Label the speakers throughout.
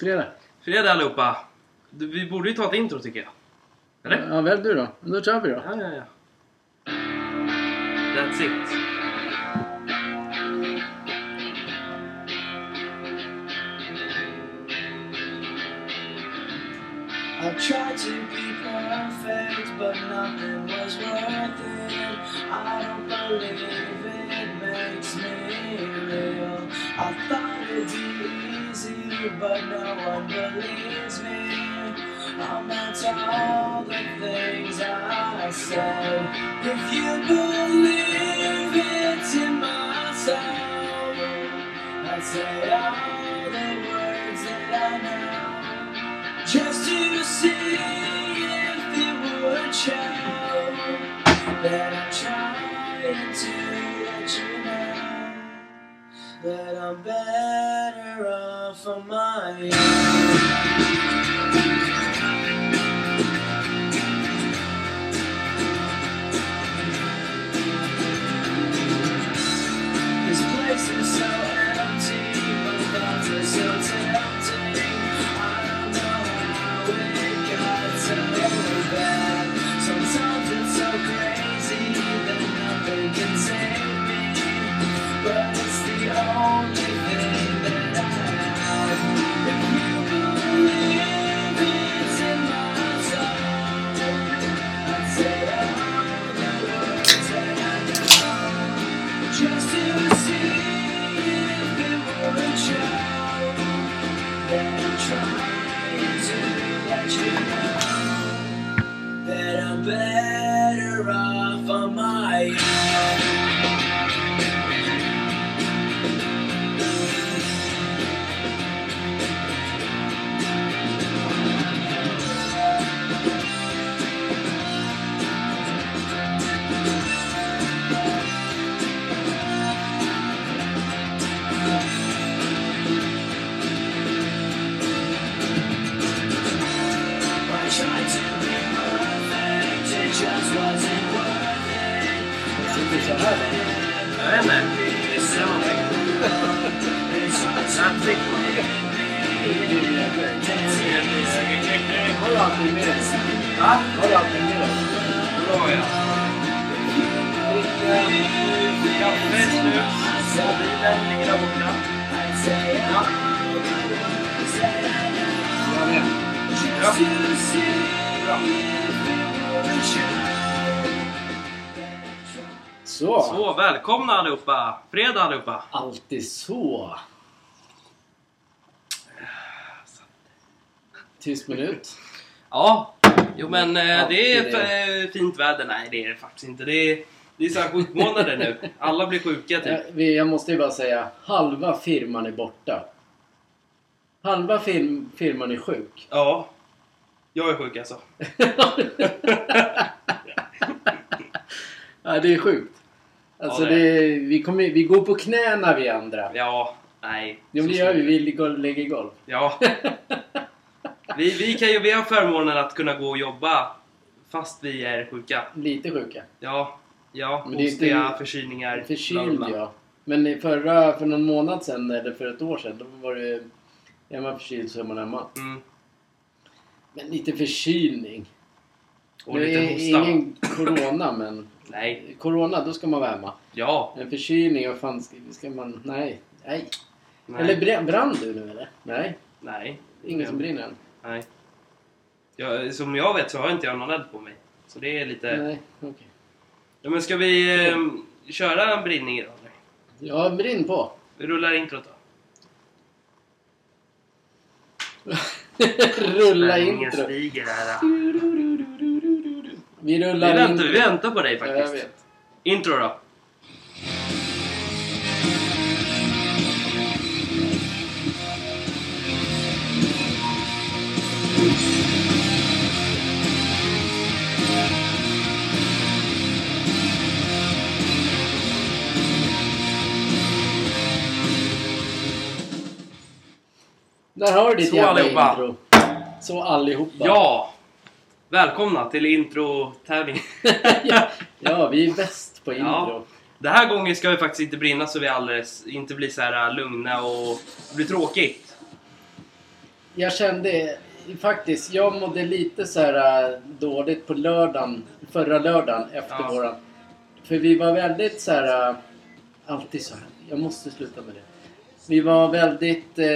Speaker 1: Fredag.
Speaker 2: Fredag allihopa! Du, Vi borde ju ta ett intro tycker jag. Eller?
Speaker 1: Ja, väl du då. Men då kör vi då.
Speaker 2: Ja, ja, ja. That's it.
Speaker 3: I tried to be perfect, but nothing was worth it. I don't believe it makes me real. I thought it'd be easy, but no one believes me. I'm not to all the things I said. If you believe it's in myself, I'd say all the words that I know. Just to see if they would show that I'm trying to let you know that I'm better off on my own. This place is so empty, my thoughts are so tempting. I don't know how it got so bad. Sometimes it's so crazy that nothing can save me, but it's the only thing that I have. If you believe it's in my soul, I'd say all the words that I know. Just to see if it were a child that I'm trying to let you know that I'm better off on my own. I tried to be perfect, it just wasn't worth it. Nothing
Speaker 1: så här,
Speaker 2: Jag vet inte. Det är någonting.
Speaker 3: It's
Speaker 2: That's it.
Speaker 3: hard to
Speaker 1: Har du allting med dig?
Speaker 2: Va?
Speaker 1: Har du allting med dig?
Speaker 2: Bra ja. Kaffe, snus, mobilen ligger där borta. Ja.
Speaker 1: Jag med.
Speaker 2: Ja. Bra.
Speaker 1: Så.
Speaker 2: Så, välkomna allihopa! Fredag allihopa!
Speaker 1: Alltid så. Tyst minut.
Speaker 2: Ja, jo men eh,
Speaker 1: Ja,
Speaker 2: det är
Speaker 1: det är
Speaker 2: f- fint väder. Nej det är det faktiskt inte. Det är, det är så här sjukmånader nu. Alla blir sjuka typ.
Speaker 1: Jag, Eh, vi- jag måste ju bara säga, halva firman är borta. Halva film, firman är sjuk.
Speaker 2: Ja. Jag är sjuk alltså.
Speaker 1: ja, det är sjukt. Alltså
Speaker 2: Ja, det
Speaker 1: det är, vi, kommer, vi går på knäna vi andra.
Speaker 2: Ja. Nej.
Speaker 1: Jo,
Speaker 2: så
Speaker 1: det gör
Speaker 2: sjuk.
Speaker 1: vi. Vi ligger- lägger golv.
Speaker 2: Ja. Vi, vi, kan ju, vi har förmånen att kunna gå och jobba fast vi är sjuka.
Speaker 1: Lite sjuka.
Speaker 2: Ja. Ja.
Speaker 1: Men det är inte-
Speaker 2: Hostiga, förkylningar. bla,
Speaker 1: Förkyld
Speaker 2: bla, bla.
Speaker 1: ja. Men i förra, för någon månad sedan eller för ett år sedan, då var det... Är man förkyld så är man hemma.
Speaker 2: Mm.
Speaker 1: Men lite förkylning.
Speaker 2: Och
Speaker 1: det
Speaker 2: lite
Speaker 1: är
Speaker 2: hosta.
Speaker 1: ingen corona men...
Speaker 2: Nej.
Speaker 1: Corona, då ska man vara hemma.
Speaker 2: Ja.
Speaker 1: En förkylning, vad fan ska, ska man... Nej. Nej.
Speaker 2: Nej.
Speaker 1: Eller br- brann du nu eller? Nej.
Speaker 2: Nej.
Speaker 1: Ingen som brinner än?
Speaker 2: Nej. Jag, som jag vet så har inte jag någon eld på mig. Så det är lite...
Speaker 1: Nej, okej.
Speaker 2: Ja, men ska vi eh, köra en brinning idag? eller?
Speaker 1: Ja, brinn på.
Speaker 2: Vi rullar introt då.
Speaker 1: Rulla
Speaker 2: Spänningen
Speaker 1: intro.
Speaker 2: stiger här.
Speaker 1: Vi
Speaker 2: Vi
Speaker 1: rullar
Speaker 2: väntar, vi
Speaker 1: intro.
Speaker 2: väntar på dig
Speaker 1: Ja, jag
Speaker 2: faktiskt.
Speaker 1: vet.
Speaker 2: Intro då.
Speaker 1: Där har du ditt
Speaker 2: Så
Speaker 1: jävla
Speaker 2: allihopa.
Speaker 1: intro. Så allihopa.
Speaker 2: Ja! Välkomna till intro-tävlingen.
Speaker 1: ja, ja, vi är bäst på intro.
Speaker 2: Ja. Den här gången ska vi faktiskt inte äh, brinna så vi alldeles inte blir så här lugna och blir tråkigt.
Speaker 1: jag kände faktiskt, jag mådde lite så här äh, dåligt på lördagen, förra lördagen efter
Speaker 2: Ja.
Speaker 1: våran. För vi var väldigt så här, äh, alltid så här, jag måste sluta med det. Vi var väldigt, eh,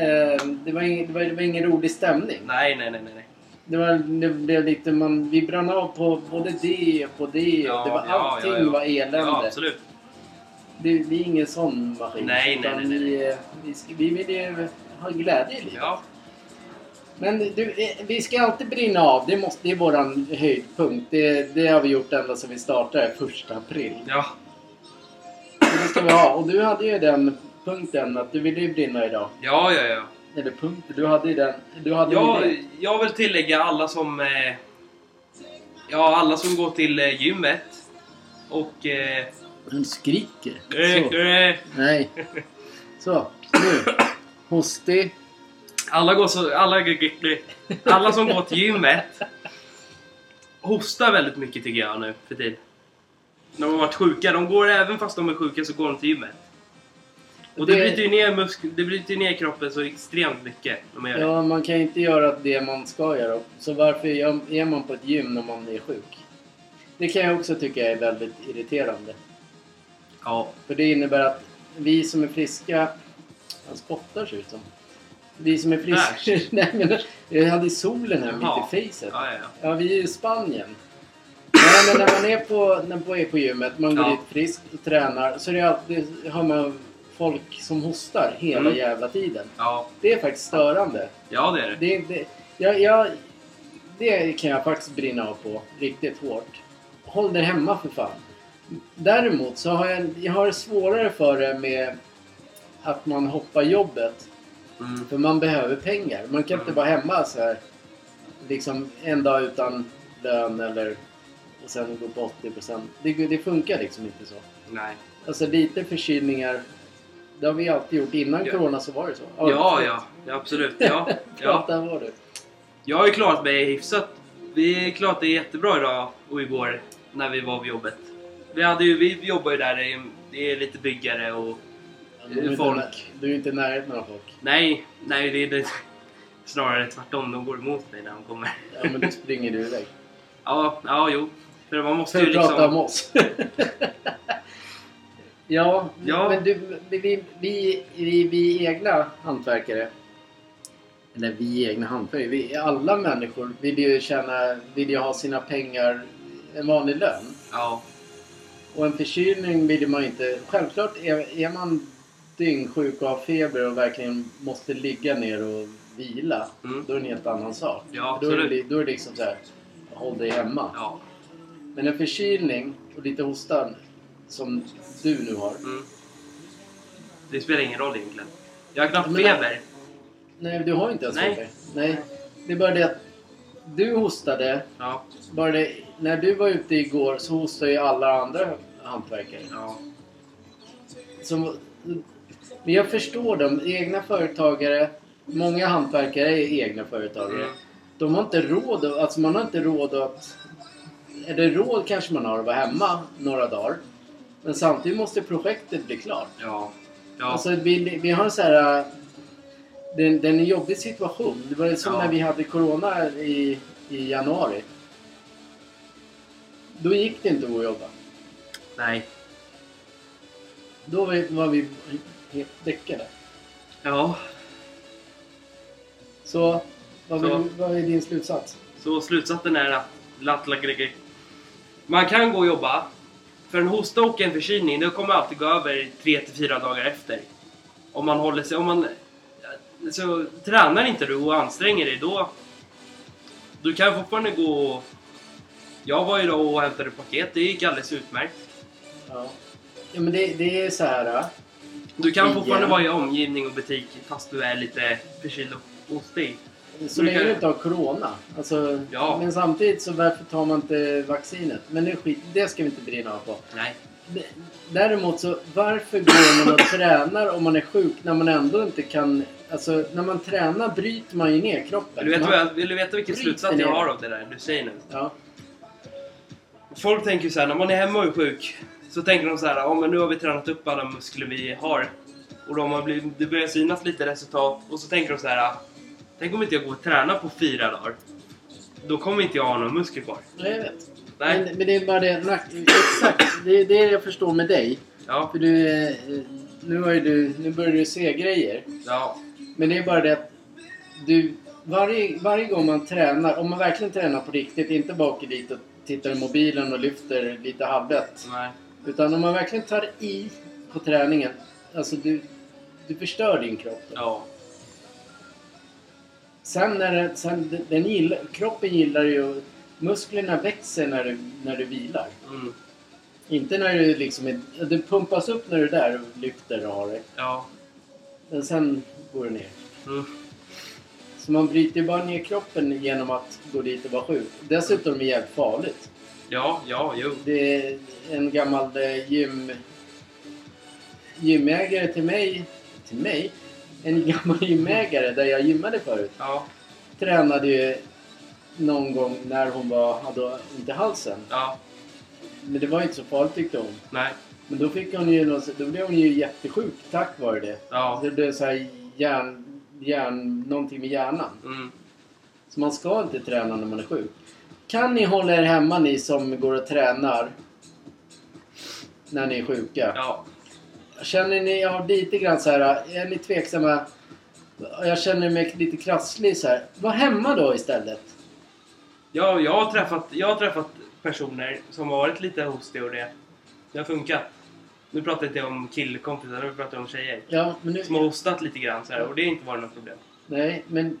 Speaker 1: eh, det, var ing, det, var, det var ingen rolig stämning.
Speaker 2: Nej, nej, nej, nej. nej.
Speaker 1: Det, var, det blev lite, man, vi brann av på både det och på det.
Speaker 2: Ja,
Speaker 1: det var,
Speaker 2: ja,
Speaker 1: allting
Speaker 2: ja, ja.
Speaker 1: var elände.
Speaker 2: Ja, absolut.
Speaker 1: Det, vi är ingen sån maskin.
Speaker 2: Nej, nej,
Speaker 1: utan
Speaker 2: nej, nej, nej.
Speaker 1: Vi, eh, vi, ska, vi vill ju ha glädje i livet.
Speaker 2: Ja,
Speaker 1: Men du, eh, vi ska alltid brinna av. Det, måste, det är våran höjdpunkt. Det, det har vi gjort ända sedan vi startade första april.
Speaker 2: ja.
Speaker 1: Så det ska vi ha. Och du hade ju den punkten att du ville ju brinna idag.
Speaker 2: Ja, ja, ja.
Speaker 1: Eller punkt. Du hade ju den. Du hade ju
Speaker 2: Jag,
Speaker 1: det.
Speaker 2: jag vill tillägga alla som... Eh, ja, alla som går till eh, gymmet. Och... Eh,
Speaker 1: Hon skriker.
Speaker 2: eh,
Speaker 1: Så.
Speaker 2: eh,
Speaker 1: Nej. Så. Nu. Hostig.
Speaker 2: alla, går så, alla, alla som går till gymmet hostar väldigt mycket tycker jag nu för tiden. När de har varit sjuka. De går även fast de är sjuka så går de till gymmet. Och det,
Speaker 1: Det-
Speaker 2: bryter ju ner, musk- det bryter ju ner kroppen så extremt mycket när man gör det.
Speaker 1: Ja, man kan ju inte göra det man ska göra. Så varför gör- är man på ett gym när man är sjuk? Det kan jag också tycka är väldigt irriterande.
Speaker 2: Ja.
Speaker 1: För det innebär att vi som är friska... Han spottar sig ut som. Vi som är friska... Nej, men jag hade solen här
Speaker 2: Jaha.
Speaker 1: mitt i facet.
Speaker 2: Ja, ja, ja.
Speaker 1: Ja, vi är ju i Spanien. Nej, men när man är på, när man är på gymmet, man går
Speaker 2: Ja.
Speaker 1: dit frisk och tränar, så är det alltid, har man folk som hostar hela
Speaker 2: Mm.
Speaker 1: jävla tiden.
Speaker 2: Ja,
Speaker 1: Det är faktiskt störande.
Speaker 2: ja det är det.
Speaker 1: Det, det, jag, jag, det kan jag faktiskt brinna av på riktigt hårt. Håll dig hemma för fan. Däremot så har jag, jag har det svårare för det med att man hoppar jobbet.
Speaker 2: Mm.
Speaker 1: För man behöver pengar. Man kan inte
Speaker 2: Mm.
Speaker 1: vara hemma så här liksom en dag utan lön eller och sen gå på 80%. Det, det funkar liksom inte så.
Speaker 2: Nej.
Speaker 1: Alltså lite förkylningar. Det har vi alltid gjort. Innan
Speaker 2: Ja.
Speaker 1: corona så var det så.
Speaker 2: Ja, ja, ja absolut. Ja, ja.
Speaker 1: Prata var du.
Speaker 2: Jag har ju klarat mig hyfsat. Vi klarade det jättebra idag och igår när vi var vid jobbet. Vi, hade ju, vi jobbar ju där, det är- det är lite byggare och...
Speaker 1: Du är inte
Speaker 2: Folk.
Speaker 1: nä- Du är inte i närheten av folk.
Speaker 2: Nej, nej det är det, snarare tvärtom. De går emot mig när de kommer.
Speaker 1: Ja, men då springer du iväg.
Speaker 2: Ja, ja jo. För man måste
Speaker 1: För att
Speaker 2: ju
Speaker 1: prata om
Speaker 2: liksom...
Speaker 1: oss. ja,
Speaker 2: Ja.
Speaker 1: men du, vi, vi, vi, vi, vi egna hantverkare. Eller vi egna hantverkare. Vi, alla människor vill ju tjäna, vill ju ha sina pengar, en vanlig lön.
Speaker 2: Ja,
Speaker 1: Och en förkylning vill man ju inte... Självklart är, är man dyngsjuk och har feber och verkligen måste ligga ner och vila.
Speaker 2: Mm.
Speaker 1: Då är det en helt annan sak.
Speaker 2: Ja,
Speaker 1: då, är det,
Speaker 2: absolut.
Speaker 1: då är det liksom så här, håll dig hemma.
Speaker 2: ja.
Speaker 1: Men en förkylning och lite hostan som du nu har.
Speaker 2: Mm. Det spelar ingen roll egentligen. Jag har knappt
Speaker 1: Men-
Speaker 2: feber.
Speaker 1: Nej, du har ju inte ens
Speaker 2: Nej.
Speaker 1: feber. Nej. Det är bara det att du hostade.
Speaker 2: Ja,
Speaker 1: Bara det, när du var ute igår så hostade ju alla andra hantverkare.
Speaker 2: ja.
Speaker 1: Som, men jag förstår dem. Egna företagare. Många hantverkare är egna företagare.
Speaker 2: Mm.
Speaker 1: De har inte råd. att- Alltså man har inte råd att... Eller råd kanske man har att vara hemma några dagar. Men samtidigt måste projektet bli klart.
Speaker 2: Ja. Ja.
Speaker 1: Alltså vi, vi har en så här... äh, Det, det är en jobbig situation. Det var ju som
Speaker 2: Ja.
Speaker 1: när vi hade Corona i, i januari. Då gick det inte att jobba.
Speaker 2: Nej.
Speaker 1: Då var vi- var vi helt däckade.
Speaker 2: Ja.
Speaker 1: Så vad,
Speaker 2: Så.
Speaker 1: Vill, vad är din slutsats?
Speaker 2: Så slutsatsen är att latt, lack, lack, lack. man kan gå och jobba. För en hosta och en förkylning, det kommer alltid gå över 3 till 4 dagar efter. Om man håller sig, om man... Så tränar inte du och anstränger dig då... Du kan fortfarande gå och... Jag var ju då och hämtade paket, det gick alldeles utmärkt.
Speaker 1: Ja. ja men det, det är så här. äh,
Speaker 2: Du kan
Speaker 1: Igen.
Speaker 2: fortfarande vara i omgivning och butik fast du är lite förkyld och hostig.
Speaker 1: äh, Så
Speaker 2: Men
Speaker 1: länge
Speaker 2: det-
Speaker 1: du inte har Corona. Alltså,
Speaker 2: Ja.
Speaker 1: Men samtidigt så varför tar man inte vaccinet? Men det, är skit, det ska vi inte brinna av på.
Speaker 2: Nej.
Speaker 1: D- Däremot så, varför går man och tränar om man är sjuk när man ändå inte kan... Alltså, när man tränar bryter man ju ner kroppen.
Speaker 2: Vill du veta,
Speaker 1: man,
Speaker 2: vad jag- vill du veta vilken
Speaker 1: Skit
Speaker 2: slutsats
Speaker 1: i
Speaker 2: jag
Speaker 1: det.
Speaker 2: har av det där du säger nu?
Speaker 1: Ja.
Speaker 2: Folk tänker så här, när man är hemma och är sjuk så tänker de så här, ja men nu har vi tränat upp alla muskler vi har. och de har blivit, det börjar synas lite resultat och så tänker de så här. Tänk om inte jag går och tränar på fyra dagar. Då kommer inte jag ha någon muskel kvar.
Speaker 1: Nej, jag vet.
Speaker 2: Nej.
Speaker 1: Men, men det är bara det, nack- exakt, det är det jag förstår med dig.
Speaker 2: Ja.
Speaker 1: För du, eh, nu, har ju du, nu börjar du se grejer.
Speaker 2: Ja.
Speaker 1: Men det är bara det att du, varje, varje gång man tränar, om man verkligen tränar på riktigt, inte bara åker dit och tittar i mobilen och lyfter lite halvlätt.
Speaker 2: Nej.
Speaker 1: Utan om man verkligen tar i på träningen, alltså du, du förstör din kropp. då.
Speaker 2: Ja.
Speaker 1: Sen när det, sen den gillar, kroppen gillar ju, musklerna växer när du, när du vilar.
Speaker 2: Mm.
Speaker 1: Inte när du liksom är, det pumpas upp när du är där och lyfter och har det.
Speaker 2: Ja.
Speaker 1: Men sen går det ner.
Speaker 2: Mm.
Speaker 1: Så man bryter ju bara ner kroppen genom att gå dit och vara sjuk. Dessutom är det jävligt farligt.
Speaker 2: Ja. Ja. Jo.
Speaker 1: Det är en gammal eh, gym... gymägare till mig... Till mig? En gammal gymägare där jag gymmade förut.
Speaker 2: Ja.
Speaker 1: Tränade ju någon gång när hon var, hade ont i halsen.
Speaker 2: Ja.
Speaker 1: Men det var ju inte så farligt tyckte hon.
Speaker 2: Nej.
Speaker 1: Men då fick hon ju, någon- då blev hon ju jättesjuk tack vare det.
Speaker 2: Ja.
Speaker 1: Det blev så här hjärn, hjärn, någonting med hjärnan.
Speaker 2: Mm.
Speaker 1: Så man ska inte träna när man är sjuk. Kan ni hålla er hemma ni som går och tränar när ni är sjuka?
Speaker 2: Ja.
Speaker 1: Känner ni av lite grann så här, är ni tveksamma? Jag känner mig lite krasslig så här. Var hemma då istället.
Speaker 2: Ja, jag har träffat, jag har träffat personer som har varit lite hostiga och det. Det har funkat. Nu pratar inte jag om killkompisar, nu pratar jag om tjejer.
Speaker 1: Ja, men nu...
Speaker 2: Som har hostat lite grann så här, och det har inte varit något problem.
Speaker 1: Nej, men...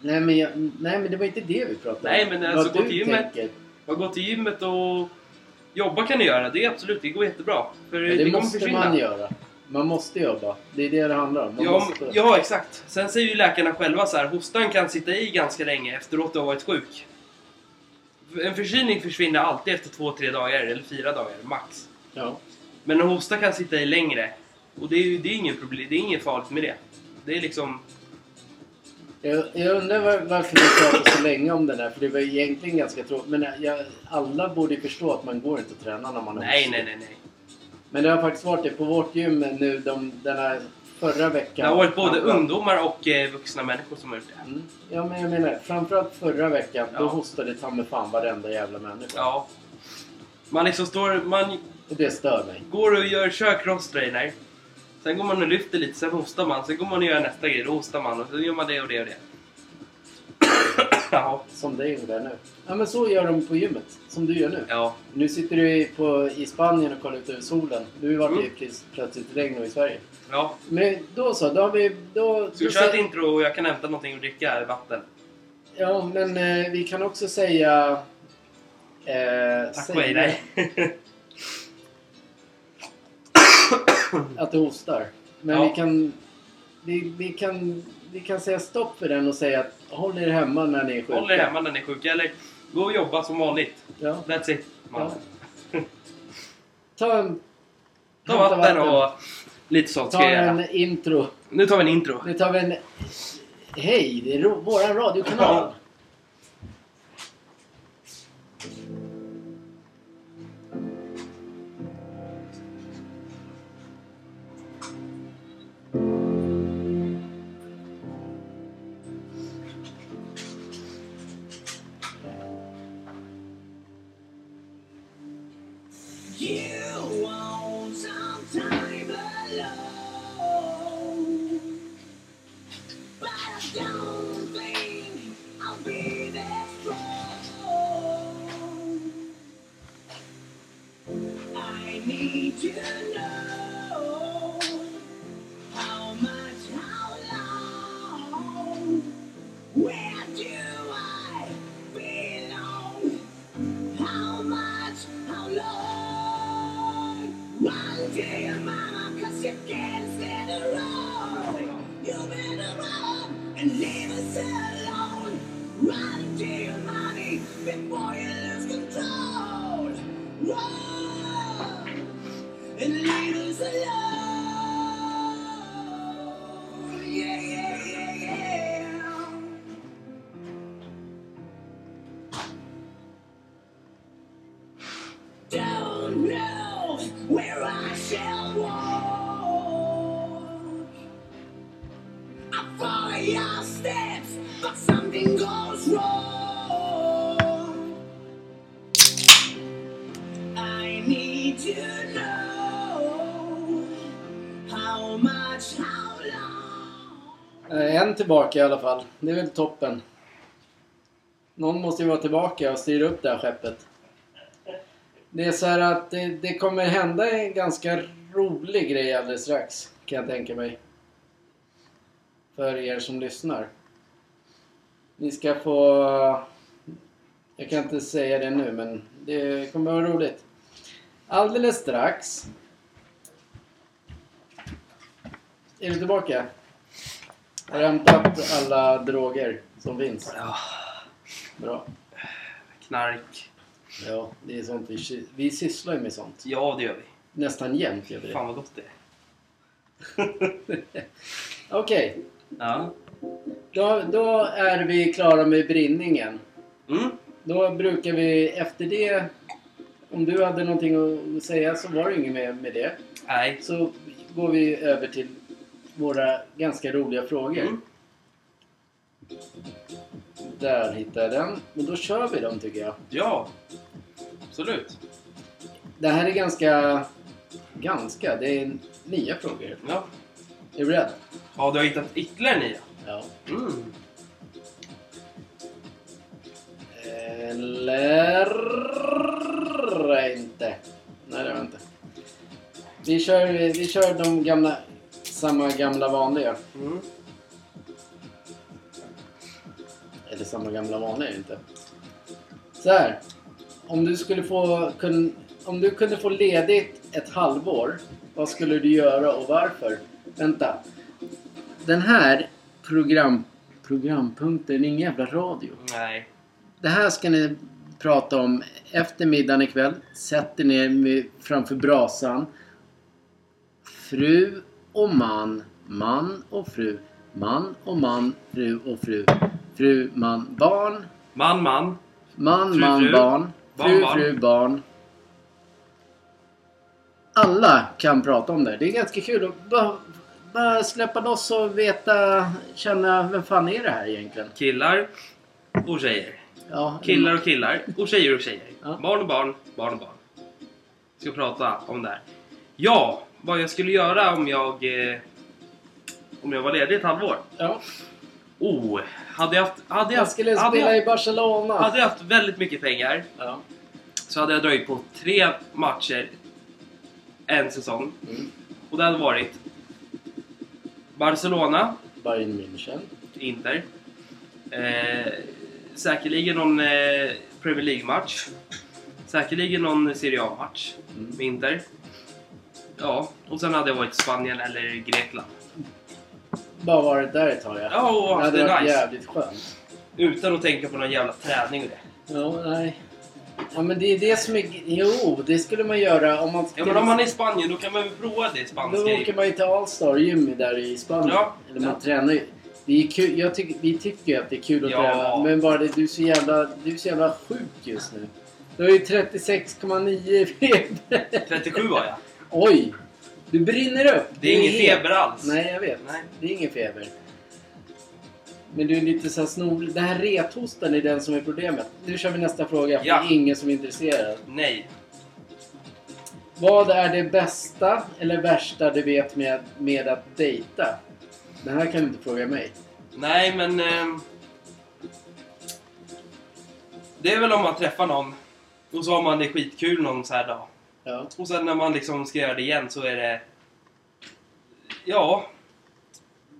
Speaker 1: Nej men, jag, nej, men det var inte det vi pratade
Speaker 2: Nej, men alltså, gå
Speaker 1: Vad du
Speaker 2: till gymmet.
Speaker 1: tänker.
Speaker 2: Och gå till gymmet och jobba kan ni göra, det är absolut, det går jättebra. För
Speaker 1: Ja, det,
Speaker 2: kommer
Speaker 1: måste
Speaker 2: försvinna.
Speaker 1: man göra. Man måste jobba. Det är det det handlar om. Man
Speaker 2: Ja,
Speaker 1: måste.
Speaker 2: ja, exakt. Sen säger ju läkarna själva så här, hostan kan sitta i ganska länge efteråt du har varit sjuk. En förkylning försvinner alltid efter två, tre dagar, eller fyra dagar, max.
Speaker 1: Ja.
Speaker 2: Men en hosta kan sitta i längre. Och det är ju det är inget problem, det är inget farligt med det. Det är liksom...
Speaker 1: Jag, jag undrar var, varför vi pratade så länge om den här, för det var egentligen ganska tråkigt. Men jag, alla borde ju förstå att man går inte att träna när man är
Speaker 2: Nej,
Speaker 1: hostig.
Speaker 2: nej, nej, nej.
Speaker 1: Men det har faktiskt varit det på vårt gym nu de, den här förra
Speaker 2: Det
Speaker 1: veckan.
Speaker 2: har varit både
Speaker 1: Framförallt-
Speaker 2: ungdomar och eh, vuxna människor som har gjort det.
Speaker 1: Mm. Ja, men jag menar framförallt förra veckan, då
Speaker 2: Ja.
Speaker 1: hostade ta mig fan varenda jävla människa.
Speaker 2: Ja. Man liksom står... Man
Speaker 1: Och det stör mig.
Speaker 2: går och gör, kör crosstrainer. Sen går man och lyfter lite, sen hostar man. Sen går man och gör nästa grej, då hostar man. Och sen gör man det och det och det. ja.
Speaker 1: Som det gjorde nu. Ja, men så gör de på gymmet. Som du gör nu.
Speaker 2: Ja.
Speaker 1: Nu sitter du i, på, i Spanien och kollar ut över solen. Nu vart det ju
Speaker 2: Mm.
Speaker 1: plöts- plötsligt regn i Sverige.
Speaker 2: Ja.
Speaker 1: Men då så, då har vi... Då,
Speaker 2: Ska vi
Speaker 1: då
Speaker 2: köra
Speaker 1: sä-
Speaker 2: ett intro och jag kan hämta någonting att dricka, vatten?
Speaker 1: Ja, men eh, vi kan också säga... Eh,
Speaker 2: Tack och
Speaker 1: säga
Speaker 2: hej, nej.
Speaker 1: Att det hostar. Men
Speaker 2: Ja.
Speaker 1: vi, kan, vi, vi, kan, vi kan säga stopp för den och säga att håll er hemma när ni är sjuka.
Speaker 2: Håll er hemma när ni är sjuka, eller gå och jobba som vanligt.
Speaker 1: Ja.
Speaker 2: That's it. Man.
Speaker 1: Ta en,
Speaker 2: Ta vatten och lite sånt
Speaker 1: ta
Speaker 2: ska jag göra.
Speaker 1: en intro.
Speaker 2: Nu tar vi en intro.
Speaker 1: Nu tar vi en... Hej, det är ro, våran radiokanal.
Speaker 2: Ja.
Speaker 4: You want some time alone, but I don't think I'll be that strong. I need to know how much, how long, where do I belong? How much, how long? One day, mama, cause you can't stand alone. You better run and leave us alone. Run to your money before you lose control. Run and leave us alone. Yeah, yeah, yeah, yeah. don't know where I shall walk. your steps, but something goes wrong. I need to know how much, how long.
Speaker 1: Eh, En tillbaka i alla fall. Det är väl toppen. Någon måste ju vara tillbaka och styra upp det här skeppet. Det är så här att det, det kommer hända en ganska rolig grej alldeles strax. Kan jag tänka mig. För er som lyssnar. Ni ska få... Jag kan inte säga det nu men det kommer vara roligt. Alldeles strax. Är du tillbaka? Har du hämtat alla droger som finns?
Speaker 2: Ja,
Speaker 1: Bra.
Speaker 2: knark.
Speaker 1: Ja, det är sånt vi, sy- vi sysslar ju med sånt.
Speaker 2: Ja, det gör vi.
Speaker 1: Nästan jämt gör vi det.
Speaker 2: Fan vad gott det är.
Speaker 1: Okej,
Speaker 2: Ja.
Speaker 1: då, då är vi klara med brinningen.
Speaker 2: Mm.
Speaker 1: Då brukar vi efter det... Om du hade någonting att säga så var det inget med, med det.
Speaker 2: Nej.
Speaker 1: Så går vi över till våra ganska roliga frågor.
Speaker 2: Mm.
Speaker 1: Där hittade jag den. Men då kör vi dem tycker jag.
Speaker 2: Ja. Absolut.
Speaker 1: Det här är ganska... Ganska? Det är nya frågor.
Speaker 2: Ja.
Speaker 1: Är du beredd?
Speaker 2: Ja, du har hittat ytterligare nya.
Speaker 1: Ja.
Speaker 2: Mm.
Speaker 1: Eller inte. Nej, det var inte. Vi kör, vi kör de gamla, samma gamla vanliga.
Speaker 2: Mm.
Speaker 1: Eller samma gamla vanliga är det inte. Så här. Om du skulle få, kun, om du kunde få ledigt ett halvår, vad skulle du göra och varför? Vänta. Den här program, programpunkten är ingen jävla radio.
Speaker 2: Nej.
Speaker 1: Det här ska ni prata om efter middagen ikväll. Sätt er ner med, framför brasan. Fru och man, man och fru, man och man, fru och fru, fru, man, barn,
Speaker 2: Man, man.
Speaker 1: man,
Speaker 2: Fru,
Speaker 1: man,
Speaker 2: fru.
Speaker 1: barn,
Speaker 2: Barn,
Speaker 1: fru,
Speaker 2: barn.
Speaker 1: fru, barn. Alla kan prata om det. Det är ganska kul att bara, bara släppa loss och veta, känna, vem fan är det här egentligen?
Speaker 2: Killar och tjejer.
Speaker 1: Ja,
Speaker 2: Killar och killar och tjejer och tjejer.
Speaker 1: Ja.
Speaker 2: Barn och barn, barn och barn. Ska prata om det här. Ja, vad jag skulle göra om jag... Eh, om jag var ledig ett halvår?
Speaker 1: Ja.
Speaker 2: Oh, hade jag haft... Hade jag,
Speaker 1: Jag skulle
Speaker 2: hade
Speaker 1: spela
Speaker 2: jag, Alltså-
Speaker 1: i Barcelona.
Speaker 2: hade jag haft väldigt mycket pengar
Speaker 1: Ja.
Speaker 2: så hade jag dragit på tre matcher en säsong.
Speaker 1: Mm.
Speaker 2: Och det hade varit Barcelona,
Speaker 1: Bayern München.
Speaker 2: Inter. Eh, säkerligen någon eh, Premier League-match. Säkerligen någon Serie A-match
Speaker 1: Mm.
Speaker 2: med Inter. Ja, och sen hade jag varit Spanien eller Grekland.
Speaker 1: Bara varit där ett tag ja.
Speaker 2: Ja, och
Speaker 1: Det
Speaker 2: haft
Speaker 1: hade
Speaker 2: det
Speaker 1: varit
Speaker 2: nice.
Speaker 1: jävligt skönt.
Speaker 2: Utan att tänka på någon jävla träning och det.
Speaker 1: Ja, nej. Ja men det är det som är... Jo, det skulle man göra om man...
Speaker 2: Ja, men om man är i Spanien då kan man väl prova det
Speaker 1: Då
Speaker 2: spanska.
Speaker 1: åker man ju till Allstar Gym där i Spanien.
Speaker 2: Ja.
Speaker 1: Eller man
Speaker 2: Ja.
Speaker 1: tränar ju. Det är kul. Jag tycker, vi tycker ju att det är kul att
Speaker 2: Ja.
Speaker 1: träna. Men bara det, du är så jävla, du är så jävla sjuk just nu. Du har ju 36,9 i feber.
Speaker 2: 37 var jag.
Speaker 1: Oj! Du brinner upp!
Speaker 2: Det är
Speaker 1: Du
Speaker 2: ingen
Speaker 1: het.
Speaker 2: feber alls.
Speaker 1: Nej, jag vet.
Speaker 2: Nej.
Speaker 1: Det är ingen feber. Men du är lite så här snorlig. Den här rethostan är den som är problemet. Nu kör vi nästa fråga, för
Speaker 2: Ja.
Speaker 1: det är ingen som är intresserad.
Speaker 2: Nej.
Speaker 1: Vad är det bästa eller värsta du vet med, med att dejta? Den här kan du inte fråga mig.
Speaker 2: Nej, men... ehm, det är väl om man träffar någon och så har man det skitkul någon så här dag.
Speaker 1: Ja.
Speaker 2: Och sen när man liksom ska göra det igen så är det... Ja.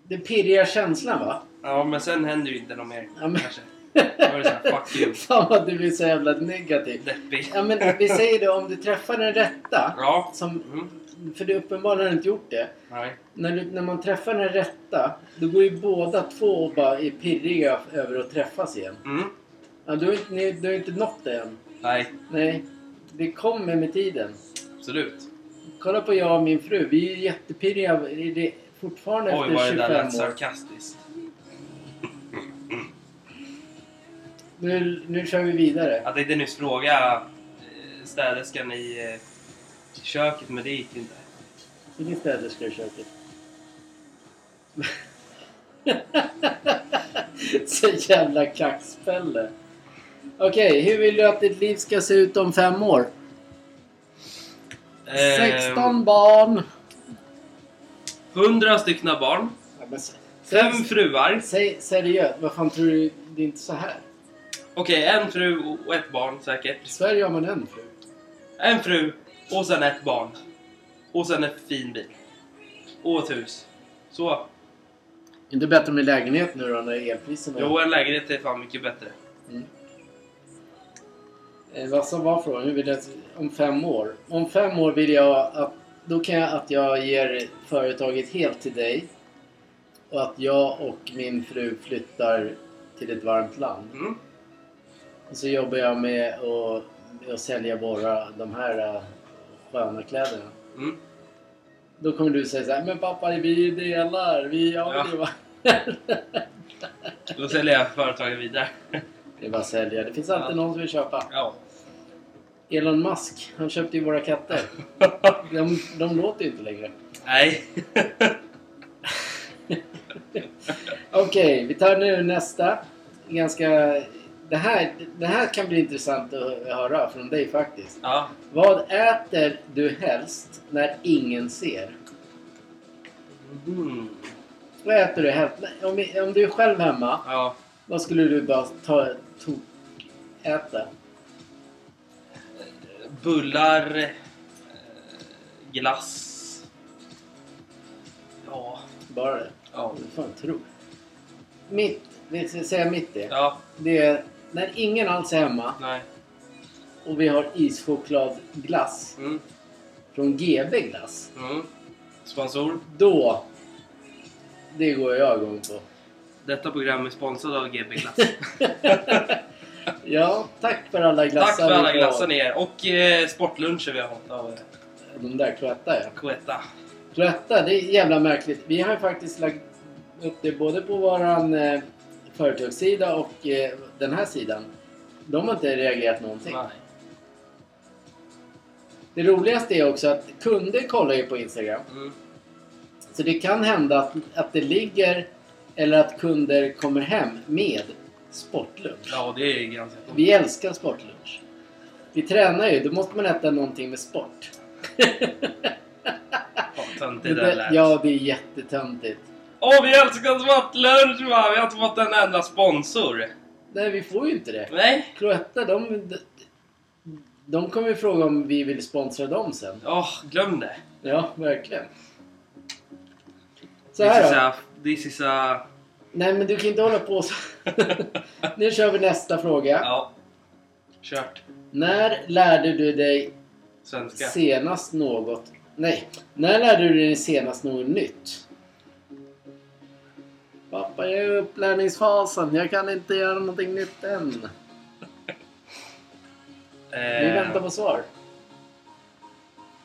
Speaker 1: Det pirriga känslan va?
Speaker 2: Ja, men sen händer ju inte något mer.
Speaker 1: Ja, men-
Speaker 2: Kanske. Då är det så här, fuck you.
Speaker 1: Fan vad du är så jävla negativ.
Speaker 2: Deppig.
Speaker 1: Ja men vi säger då om du träffar den rätta.
Speaker 2: Ja.
Speaker 1: Som,
Speaker 2: Mm.
Speaker 1: för du uppenbarligen har inte gjort det.
Speaker 2: Nej.
Speaker 1: När, du, när man träffar den rätta, då går ju båda två och bara är pirriga över att träffas igen.
Speaker 2: Mm.
Speaker 1: Ja, du, har inte, ni, du har inte nått det än.
Speaker 2: Nej,
Speaker 1: Nej, det kommer med tiden.
Speaker 2: absolut.
Speaker 1: Kolla på jag och min fru, vi är ju jättepirriga är det fortfarande
Speaker 2: Oj, vad
Speaker 1: efter
Speaker 2: det där lät
Speaker 1: 25 år.
Speaker 2: sarkastiskt.
Speaker 1: Nu, nu kör vi vidare.
Speaker 2: Jag tänkte nyss fråga eh, städerskan i eh, köket, men det gick inte.
Speaker 1: Vilken städerska i köket? jävla kaxpelle. Okej, hur vill du att ditt liv ska se ut om fem år?
Speaker 2: Eh,
Speaker 1: 16 barn.
Speaker 2: 100 styckna barn.
Speaker 1: Ja, men se-
Speaker 2: Fem
Speaker 1: se-
Speaker 2: fruar.
Speaker 1: Säg seriöst, vad fan tror du? Det är inte så här.
Speaker 2: Okej, en fru och ett barn
Speaker 1: I
Speaker 2: säkert.
Speaker 1: Sverige har man en fru.
Speaker 2: En fru och sen ett barn. Och sen en fin bil. Och ett hus. Så.
Speaker 1: Inte bättre med lägenhet nu då när elpriserna...
Speaker 2: Jo, en lägenhet är fan mycket bättre.
Speaker 1: Mm. Eh, Vad som var frågan? Hur vill jag, om fem år? Om fem år vill jag att... Då kan jag att jag ger företaget helt till dig. Och att jag och min fru flyttar till ett varmt land.
Speaker 2: Mm.
Speaker 1: Och så jobbar jag med att, med att sälja våra, de här eh, sköna kläderna.
Speaker 2: Mm.
Speaker 1: Då kommer du säga så här, men pappa vi delar, vi
Speaker 2: Ja.
Speaker 1: ja. det var-"
Speaker 2: Då säljer jag företaget vidare.
Speaker 1: Det är bara att sälja, det finns alltid
Speaker 2: Ja.
Speaker 1: någon som vill köpa.
Speaker 2: Ja.
Speaker 1: Elon Musk, han köpte ju våra katter. De, de låter ju inte längre.
Speaker 2: Nej.
Speaker 1: Okej, vi tar nu nästa. Ganska... Det här, det här kan bli intressant att höra från dig faktiskt.
Speaker 2: ja.
Speaker 1: Vad äter du helst när ingen ser?
Speaker 2: Mm.
Speaker 1: Vad äter du helst? Om, om du är själv hemma,
Speaker 2: Ja.
Speaker 1: vad skulle du bara ta, to, äta?
Speaker 2: Bullar. eh, Glass. Ja.
Speaker 1: Bara det.
Speaker 2: Ja.
Speaker 1: Vad fan tror du? Mitt, vi ska säga mitt det.
Speaker 2: Ja.
Speaker 1: Det är när ingen alls är hemma
Speaker 2: Nej.
Speaker 1: och vi har ischokladglass
Speaker 2: Mm.
Speaker 1: från GB Glass.
Speaker 2: Mm. Sponsor.
Speaker 1: Då... Det går jag igång på.
Speaker 2: Detta program är sponsrat av GB Glass.
Speaker 1: Ja, tack för alla glassar.
Speaker 2: Tack för alla
Speaker 1: vi får.
Speaker 2: glassar ni är. Och eh, sportluncher vi har fått av eh,
Speaker 1: De där Cloetta ja.
Speaker 2: Cloetta.
Speaker 1: Cloetta, det är jävla märkligt. Vi har ju faktiskt lagt upp det både på våran eh, företagssida och eh, den här sidan. De har inte reagerat någonting.
Speaker 2: Nej.
Speaker 1: Det roligaste är också att kunder kollar ju på Instagram.
Speaker 2: Mm.
Speaker 1: Så det kan hända att, att det ligger eller att kunder kommer hem med sportlunch.
Speaker 2: Ja, det är ganska coolt.
Speaker 1: Vi älskar sportlunch. Vi tränar ju, då måste man äta någonting med sport.
Speaker 2: Fan, det där lät.
Speaker 1: ja, det är jättetöntigt.
Speaker 2: Åh, vi älskar sportlunch va! Vi har inte fått en enda sponsor.
Speaker 1: Nej, vi får ju inte det.
Speaker 2: Nej.
Speaker 1: Cloetta, de, de kommer ju fråga om vi vill sponsra dem sen.
Speaker 2: Åh, glöm det.
Speaker 1: Ja, verkligen. Så
Speaker 2: This is
Speaker 1: här då.
Speaker 2: a... This is a...
Speaker 1: Nej, men du kan inte hålla på så. nu kör vi nästa fråga.
Speaker 2: Ja. Kört.
Speaker 1: När lärde du dig
Speaker 2: Svenska.
Speaker 1: senast något... Nej, när lärde du dig senast något nytt? Pappa, jag är i upplärningsfasen. Jag kan inte göra någonting nytt än. Vi
Speaker 2: Eh,
Speaker 1: väntar på svar.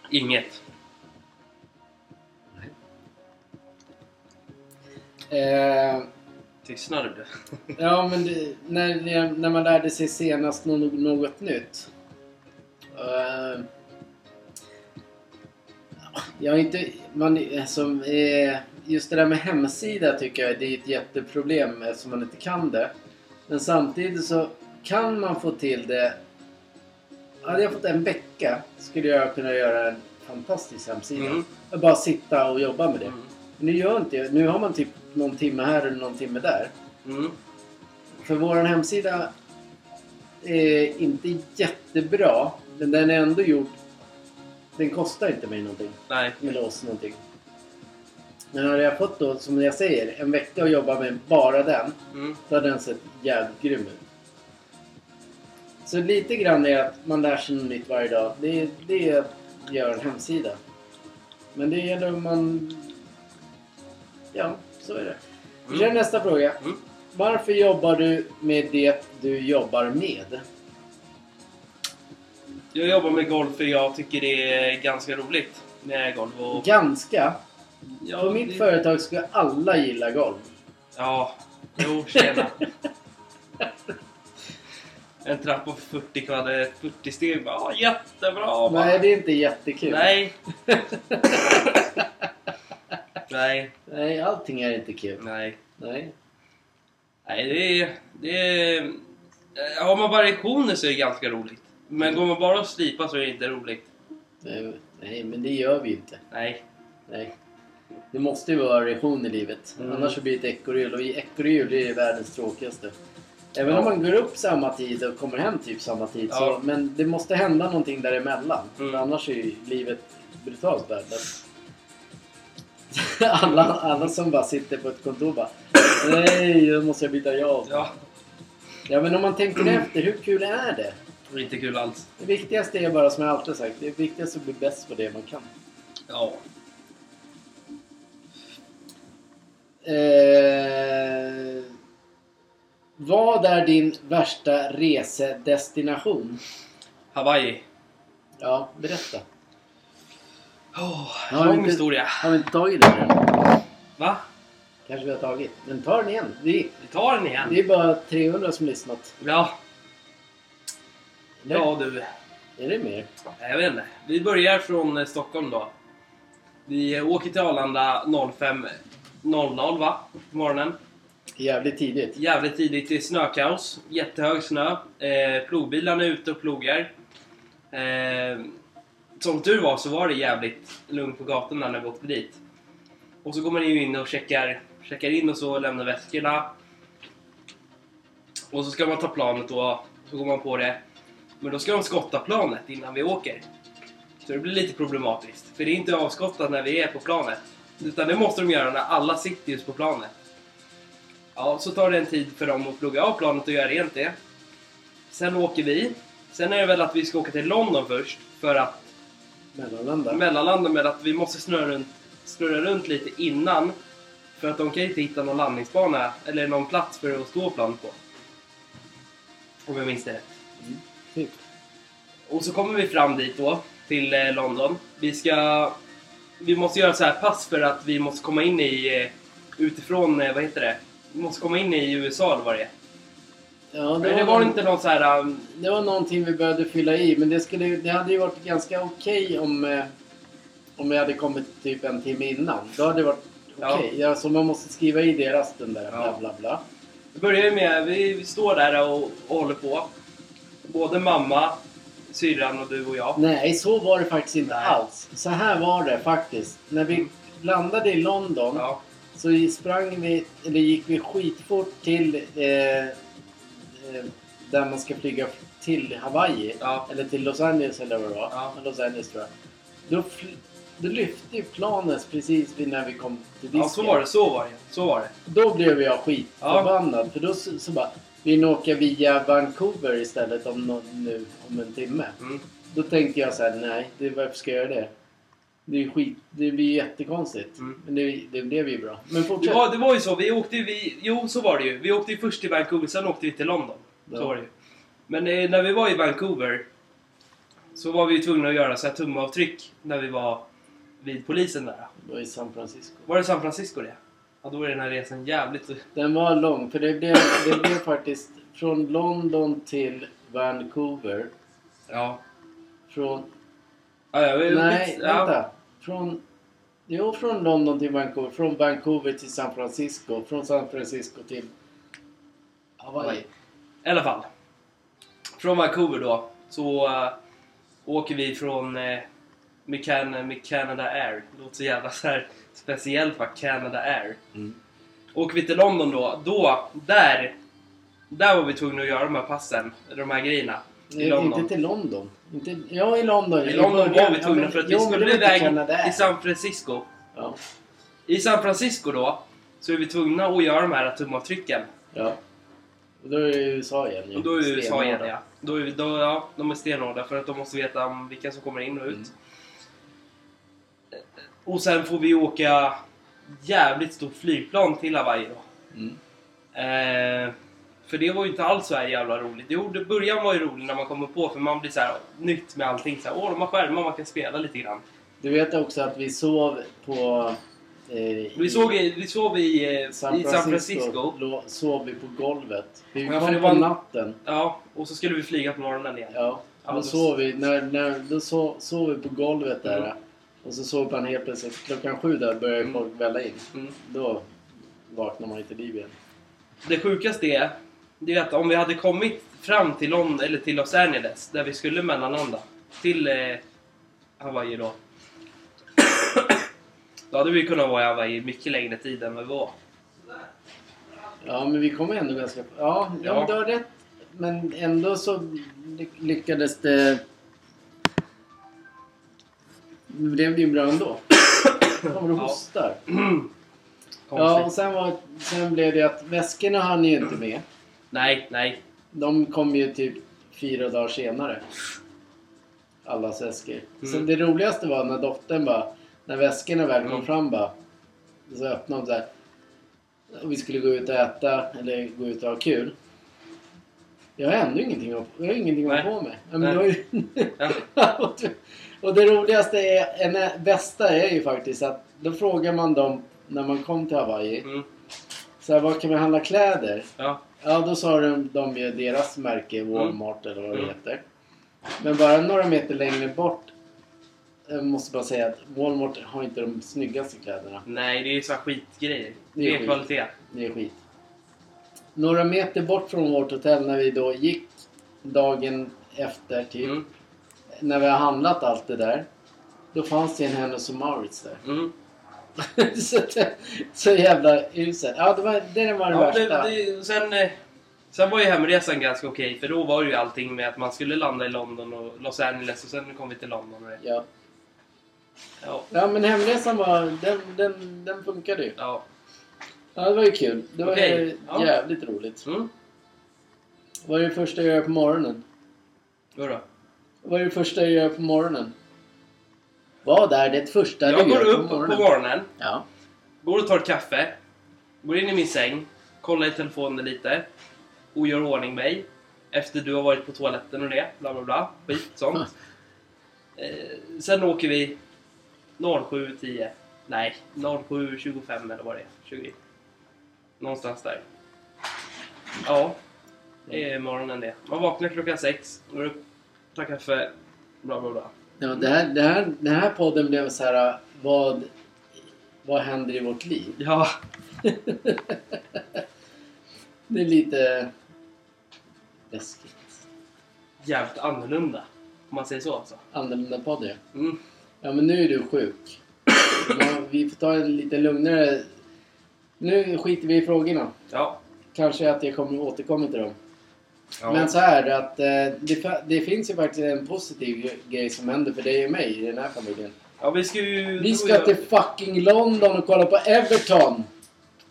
Speaker 2: Inget.
Speaker 1: Eh,
Speaker 2: Tystnad du.
Speaker 1: Ja, men det, när, när man lärde sig senast något, något nytt. Eh, jag är inte... Man, alltså, eh, just det där med hemsida tycker jag det är ett jätteproblem eftersom man inte kan det. Men samtidigt så kan man få till det... Hade jag fått en vecka skulle jag kunna göra en fantastisk hemsida.
Speaker 2: Mm.
Speaker 1: Bara sitta och jobba med det.
Speaker 2: Mm.
Speaker 1: Men nu gör jag inte jag. Nu har man typ någon timme här eller någon timme där.
Speaker 2: Mm.
Speaker 1: För vår hemsida är inte jättebra, men den är ändå gjord. Den kostar inte mig någonting,
Speaker 2: Nej.
Speaker 1: eller oss någonting. Men hade jag fått då, som jag säger, en vecka att jobba med bara den,
Speaker 2: Mm.
Speaker 1: då hade den sett jävligt grym ut. Så lite grann är att man lär sig något nytt varje dag. Det, det är att göra en hemsida. Men det gäller om man... Ja, så är det. Vi kör
Speaker 2: Mm.
Speaker 1: nästa fråga.
Speaker 2: Mm.
Speaker 1: Varför jobbar du med det du jobbar med?
Speaker 2: Jag jobbar med golf för jag tycker det är ganska roligt med golf. Och,
Speaker 1: Ganska.
Speaker 2: ja,
Speaker 1: På mitt
Speaker 2: det-
Speaker 1: företag skulle alla gilla golv.
Speaker 2: Ja, jo tjena. en trappa på 40 kvadrat, 40 steg. bara, Ja, jättebra! bara.
Speaker 1: Nej, det är inte jättekul.
Speaker 2: Nej. nej,
Speaker 1: Nej, allting är inte kul.
Speaker 2: nej.
Speaker 1: Nej.
Speaker 2: Nej, det är... Det är eh, har man variationer så är det ganska roligt. Men går man bara och slipar så är det inte roligt.
Speaker 1: Eh, Nej, men det gör vi ju inte.
Speaker 2: Nej.
Speaker 1: Nej. Det måste ju vara variation i livet.
Speaker 2: Mm.
Speaker 1: Annars så blir det ett ekorrhjul. Och i ekorrhjul är det världens tråkigaste. Även
Speaker 2: Ja.
Speaker 1: om man går upp samma tid och kommer hem typ samma tid.
Speaker 2: Ja.
Speaker 1: Så, men det måste hända någonting däremellan.
Speaker 2: Mm.
Speaker 1: För annars är ju livet brutalt värdelöst. alla, alla som bara sitter på ett kontor bara Nej, nu måste jag byta jobb. Ja.
Speaker 2: Ja,
Speaker 1: men om man tänker efter, hur kul är det?
Speaker 2: det är inte kul alls.
Speaker 1: Det viktigaste är bara som jag alltid sagt, det viktigaste är att bli bäst på det man kan.
Speaker 2: Ja.
Speaker 1: Eh, vad är din värsta resedestination?
Speaker 2: Hawaii.
Speaker 1: Ja, berätta.
Speaker 2: Oh,
Speaker 1: Ja,
Speaker 2: lång
Speaker 1: inte-
Speaker 2: historia.
Speaker 1: Har vi inte tagit den än?
Speaker 2: Va?
Speaker 1: Kanske vi har tagit. Men ta den igen. Det,
Speaker 2: Vi tar den igen.
Speaker 1: det är bara 300 som lyssnat.
Speaker 2: Ja,
Speaker 1: Eller?
Speaker 2: ja du.
Speaker 1: Är det mer?
Speaker 2: Jag vet inte. Vi börjar från eh, Stockholm då. Vi eh, åker till Arlanda 05.00 va? På morgonen.
Speaker 1: Jävligt tidigt.
Speaker 2: Jävligt tidigt. Det är snökaos. Jättehög snö. Eh, plogbilarna är ute och plogar. Eh, som tur var så var det jävligt lugnt på gatorna när vi åkte dit. Och så går man ju in och checkar, checkar in och så lämnar väskorna. Och så ska man ta planet och så går man på det. Men då ska de skotta planet innan vi åker. Så det blir lite problematiskt. För det är inte avskottat när vi är på planet. Utan det måste de göra när alla sitter just på planet. Ja, så tar det en tid för dem att plugga av planet och göra rent det. Sen åker vi. Sen är det väl att vi ska åka till London först för att
Speaker 1: Mellanlanda.
Speaker 2: mellanlanda med att vi måste snurra runt, snurra runt lite innan. För att de kan ju inte hitta någon landningsbana eller någon plats för att stå planet på. Om jag minns det rätt.
Speaker 1: Typ.
Speaker 2: Och så kommer vi fram dit då, till eh, London. Vi ska... Vi måste göra så här pass för att vi måste komma in i... eh, Utifrån, eh, vad heter det? Vi måste komma in i USA eller vad det är.
Speaker 1: Ja,
Speaker 2: Men det var inte någon så här... um,
Speaker 1: det var någonting vi började fylla i. Men det, skulle, ju- det hade ju varit ganska okej om, eh, om vi hade kommit typ en timme innan. Då hade det varit okej.
Speaker 2: Ja.
Speaker 1: Ja, så man måste skriva i deras den där bla
Speaker 2: Ja.
Speaker 1: bla bla.
Speaker 2: Det börjar ju med, vi, vi står där och, och håller på. Både mamma, syrran och du och jag.
Speaker 1: Nej, så var det faktiskt inte
Speaker 2: Nej.
Speaker 1: alls. Så här var det faktiskt. När vi landade i London
Speaker 2: Ja.
Speaker 1: så sprang vi, eller gick vi skitfort till eh, eh, där man ska flyga till Hawaii.
Speaker 2: Ja.
Speaker 1: Eller till Los Angeles eller vad det var.
Speaker 2: Ja.
Speaker 1: Los Angeles tror jag. Då, fl- då lyfte ju planet precis vid när vi kom till disken.
Speaker 2: ja, så var det, så var det. Så var det.
Speaker 1: Då blev jag skitförbannad. För då så, så bara, vill ni åka via Vancouver istället om, nå- nu, om en timme?
Speaker 2: Mm.
Speaker 1: Då tänkte jag så här, nej, det, varför ska jag göra det? Det, är ju skit, det blir ju jättekonstigt.
Speaker 2: Mm.
Speaker 1: Men det, det blev ju bra. Men
Speaker 2: Det
Speaker 1: fortsätt.
Speaker 2: var, det var ju så, vi åkte ju, vi, jo så var det ju. Vi åkte ju först till Vancouver, sen åkte vi till London.
Speaker 1: Ja.
Speaker 2: Så var det ju. Men eh, när vi var i Vancouver så var vi ju tvungna att göra så här tumavtryck när vi var vid polisen där.
Speaker 1: Det var i San Francisco.
Speaker 2: Var det San Francisco det? Ja, då är den här resan jävligt...
Speaker 1: Den var lång, för det blev, det blev faktiskt från London till Vancouver.
Speaker 2: Ja.
Speaker 1: Från...
Speaker 2: ja, ja vi,
Speaker 1: Nej,
Speaker 2: ja.
Speaker 1: vänta. Från... Jo, från London till Vancouver. Från Vancouver till San Francisco. Från San Francisco till Hawaii.
Speaker 2: Hawaii. I alla fall. Från Vancouver då så eh, åker vi från uh, med, Can- med Canada Air. Det låter så jävla så här speciellt va? Canada Air.
Speaker 1: Mm.
Speaker 2: Åker vi till London då, då, där, där var vi tvungna att göra de här passen, de här grejerna. I
Speaker 1: Nej,
Speaker 2: London.
Speaker 1: Eh, Inte till London. Inte, ja, i London.
Speaker 2: I London var
Speaker 1: början.
Speaker 2: vi tvungna
Speaker 1: men-
Speaker 2: för att vi
Speaker 1: jo, men det
Speaker 2: skulle
Speaker 1: var inte
Speaker 2: iväg
Speaker 1: Canada.
Speaker 2: i San Francisco.
Speaker 1: Ja.
Speaker 2: I San Francisco då, så är vi tvungna att göra de här tumavtrycken.
Speaker 1: Ja. Och då är det USA igen ju.
Speaker 2: Och då är ju USA igen
Speaker 1: Stenhårda.
Speaker 2: ja. Då är, vi- då, ja. De är stenhårda för att de måste veta om vilka som kommer in och ut. Eh,
Speaker 1: Mm.
Speaker 2: Och sen får vi åka jävligt stort flygplan till Hawaii då.
Speaker 1: Mm.
Speaker 2: Eh, för det var ju inte alls så här jävla roligt. Jo, det, början var ju rolig när man kommer på för man blir så här nytt med allting. Så här, Åh, de har skärmar man kan spela lite grann.
Speaker 1: Du vet också att vi sov på... Eh,
Speaker 2: Vi,
Speaker 1: i
Speaker 2: såg, i- vi sov i, eh, i San Francisco.
Speaker 1: Lo, sov vi på golvet. Vi
Speaker 2: Ja,
Speaker 1: kom
Speaker 2: för det
Speaker 1: på
Speaker 2: var-
Speaker 1: natten.
Speaker 2: Ja, och så skulle vi flyga på morgonen igen.
Speaker 1: Ja.
Speaker 2: Ja,
Speaker 1: då
Speaker 2: då-
Speaker 1: sov vi, när, när, då sov, sov vi på golvet där.
Speaker 2: Mm.
Speaker 1: Och så sov man helt plötsligt. Klockan sju där började
Speaker 2: Mm.
Speaker 1: folk välla in.
Speaker 2: Mm.
Speaker 1: Då vaknar man inte liv igen.
Speaker 2: Det sjukaste är, det är att om vi hade kommit fram till, London, eller till Los Angeles, där vi skulle mellanlanda, till eh, Hawaii då. då hade vi kunnat vara i Hawaii mycket längre tid än vad vi var.
Speaker 1: Ja, men vi kom ändå ganska... Ja, ja.
Speaker 2: Ja.
Speaker 1: men du har rätt. Men ändå så ly- lyckades det... Det blev ju bra ändå. Kommer du
Speaker 2: Ja. Mm.
Speaker 1: hostar? Ja, och
Speaker 2: Konstigt.
Speaker 1: sen, var, sen blev det att väskorna hann ju inte med.
Speaker 2: Nej, nej.
Speaker 1: De kom ju typ fyra dagar senare. Allas väskor. Så
Speaker 2: Mm.
Speaker 1: det roligaste var när dottern bara, när väskorna väl kom
Speaker 2: Mm.
Speaker 1: fram bara, så öppnade hon såhär. Och vi skulle gå ut och äta eller gå ut och ha kul. Jag har ändå ingenting att, jag har ingenting att
Speaker 2: Nej.
Speaker 1: ha på mig. Ja, men
Speaker 2: Nej.
Speaker 1: det var
Speaker 2: Ja.
Speaker 1: ju- och det roligaste är, en, bästa är ju faktiskt att då frågar man dem när man kom till Hawaii.
Speaker 2: Mm,
Speaker 1: Så här, var kan vi handla kläder?
Speaker 2: ja.
Speaker 1: Ja, då sa de, de ju deras märke,
Speaker 2: Mm.
Speaker 1: Walmart eller vad det heter. Men bara några meter längre bort. Jag måste bara säga att Walmart har inte de snyggaste kläderna.
Speaker 2: Nej, det är ju så här skitgrejer.
Speaker 1: Det är
Speaker 2: Det är
Speaker 1: skit.
Speaker 2: kvalitet.
Speaker 1: Det är skit. Några meter bort från vårt hotell när vi då gick dagen efter typ.
Speaker 2: Mm,
Speaker 1: När vi har handlat allt det där. Då fanns det en Hennes och Mauritz där.
Speaker 2: mm.
Speaker 1: så, det- så jävla usel. Ja, det var det var det
Speaker 2: Ja, det,
Speaker 1: värsta.
Speaker 2: det, sen, eh, sen var ju hemresan ganska okej, för då var det ju allting med att man skulle landa i London och Los Angeles och sen kom vi till London. Och det.
Speaker 1: Ja.
Speaker 2: Ja,
Speaker 1: ja, men hemresan var... Den, den, den funkade ju.
Speaker 2: ja.
Speaker 1: Ja, det var ju kul. Det var
Speaker 2: Okej,
Speaker 1: ju
Speaker 2: ja.
Speaker 1: jävligt roligt.
Speaker 2: Mm.
Speaker 1: Vad är det första jag gör på morgonen?
Speaker 2: Vadå?
Speaker 1: Vad är det första jag gör på morgonen? Vad är det första
Speaker 2: Jag
Speaker 1: du gör
Speaker 2: går
Speaker 1: på
Speaker 2: upp på
Speaker 1: morgonen?
Speaker 2: morgonen. morgonen,
Speaker 1: Ja.
Speaker 2: går och tar kaffe, går in i min säng, kollar i telefonen lite och gör ordning mig efter du har varit på toaletten och det, bla bla bla, skit sånt. Eh, sen åker vi 07.10, nej 07.25 eller vad det är, 20. Någonstans där. Ja, det är morgonen det. Man vaknar klockan sex, går upp, tar kaffe, bla bla bla.
Speaker 1: ja det här, det här, den här podden blev så här... Vad, vad händer i vårt liv?
Speaker 2: Ja,
Speaker 1: Det är lite... läskigt.
Speaker 2: jävligt annorlunda. Om man säger så alltså.
Speaker 1: Annorlunda podd, ja.
Speaker 2: Mm.
Speaker 1: Ja, men nu är du sjuk. Ja, vi får ta en lite lugnare... Nu skiter vi i frågorna.
Speaker 2: Ja.
Speaker 1: Kanske att jag kommer återkomma till dem. Men så här att eh, det, fa- det finns ju faktiskt en positiv gre- grej som händer för dig och mig i den här familjen.
Speaker 2: Ja, vi ska ju...
Speaker 1: Vi ska till fucking London och kolla på Everton!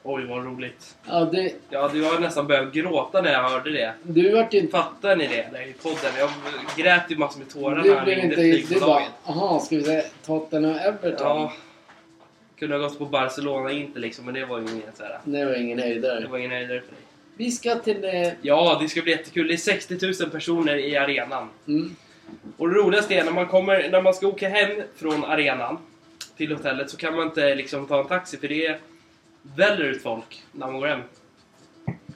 Speaker 2: Oj, vad roligt.
Speaker 1: Ja, det,
Speaker 2: Ja, du har nästan börjat gråta när jag hörde det.
Speaker 1: du vart ju inte...
Speaker 2: Fattar ni det? Där i podden. Jag grät ju massor med tårar när
Speaker 1: Du
Speaker 2: han
Speaker 1: blev
Speaker 2: ringde
Speaker 1: inte... Du bara,
Speaker 2: flygbolaget.
Speaker 1: aha, ska vi säga Tottenham och Everton?
Speaker 2: Ja. Kunde ha gått på Barcelona inte liksom, men det var ju inget såhär.
Speaker 1: Det var ingen
Speaker 2: Det
Speaker 1: höjdare.
Speaker 2: var ingen höjdare för dig.
Speaker 1: Vi ska till... Eh,
Speaker 2: Ja, det ska bli jättekul. Det är 60 000 personer i arenan.
Speaker 1: mm,
Speaker 2: Och det roligaste är när man, kommer, när man ska åka hem från arenan till hotellet så kan man inte liksom ta en taxi för det väller ut folk när man går hem.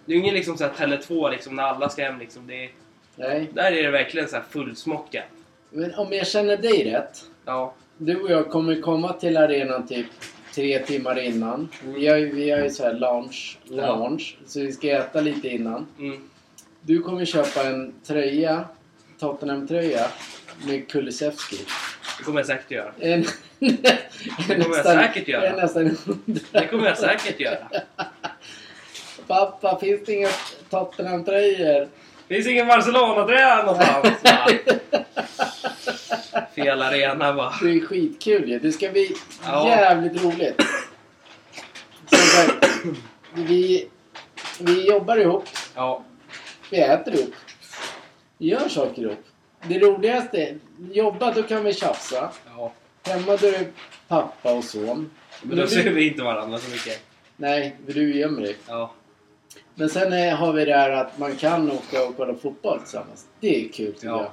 Speaker 2: Det är ju ingen liksom så här Tele2 liksom när alla ska hem liksom. Det är,
Speaker 1: nej.
Speaker 2: där är det verkligen så här fullsmockat.
Speaker 1: Men om jag känner dig rätt.
Speaker 2: Ja.
Speaker 1: Du och jag kommer komma till arenan typ tre timmar innan.
Speaker 2: Mm.
Speaker 1: Vi har ju, vi har ju så här lunch,
Speaker 2: Ja.
Speaker 1: lunch. Så vi ska äta lite innan.
Speaker 2: Mm.
Speaker 1: Du kommer köpa en tröja, Tottenham-tröja, med Kulusevski.
Speaker 2: Det kommer jag säkert göra.
Speaker 1: En, en
Speaker 2: kommer jag säkert göra.
Speaker 1: En nästan
Speaker 2: Det kommer jag säkert göra.
Speaker 1: Pappa, finns det inga Tottenham-tröjor?
Speaker 2: Det finns ingen Barcelona-tröja någonstans. va? Fel arena va.
Speaker 1: Det är skitkul ju. Det ska bli
Speaker 2: Ja.
Speaker 1: jävligt roligt. Som sagt, vi, vi jobbar ihop.
Speaker 2: Ja.
Speaker 1: Vi äter ihop. Vi gör saker ihop. Det roligaste är, jobba då kan vi tjafsa.
Speaker 2: ja.
Speaker 1: Hemma då är det pappa och son.
Speaker 2: Men då ser vi inte varandra så mycket.
Speaker 1: Nej, för du gömmer dig.
Speaker 2: Ja.
Speaker 1: Men sen eh, har vi det här att man kan åka och kolla fotboll tillsammans. Det är kul tycker
Speaker 2: Ja.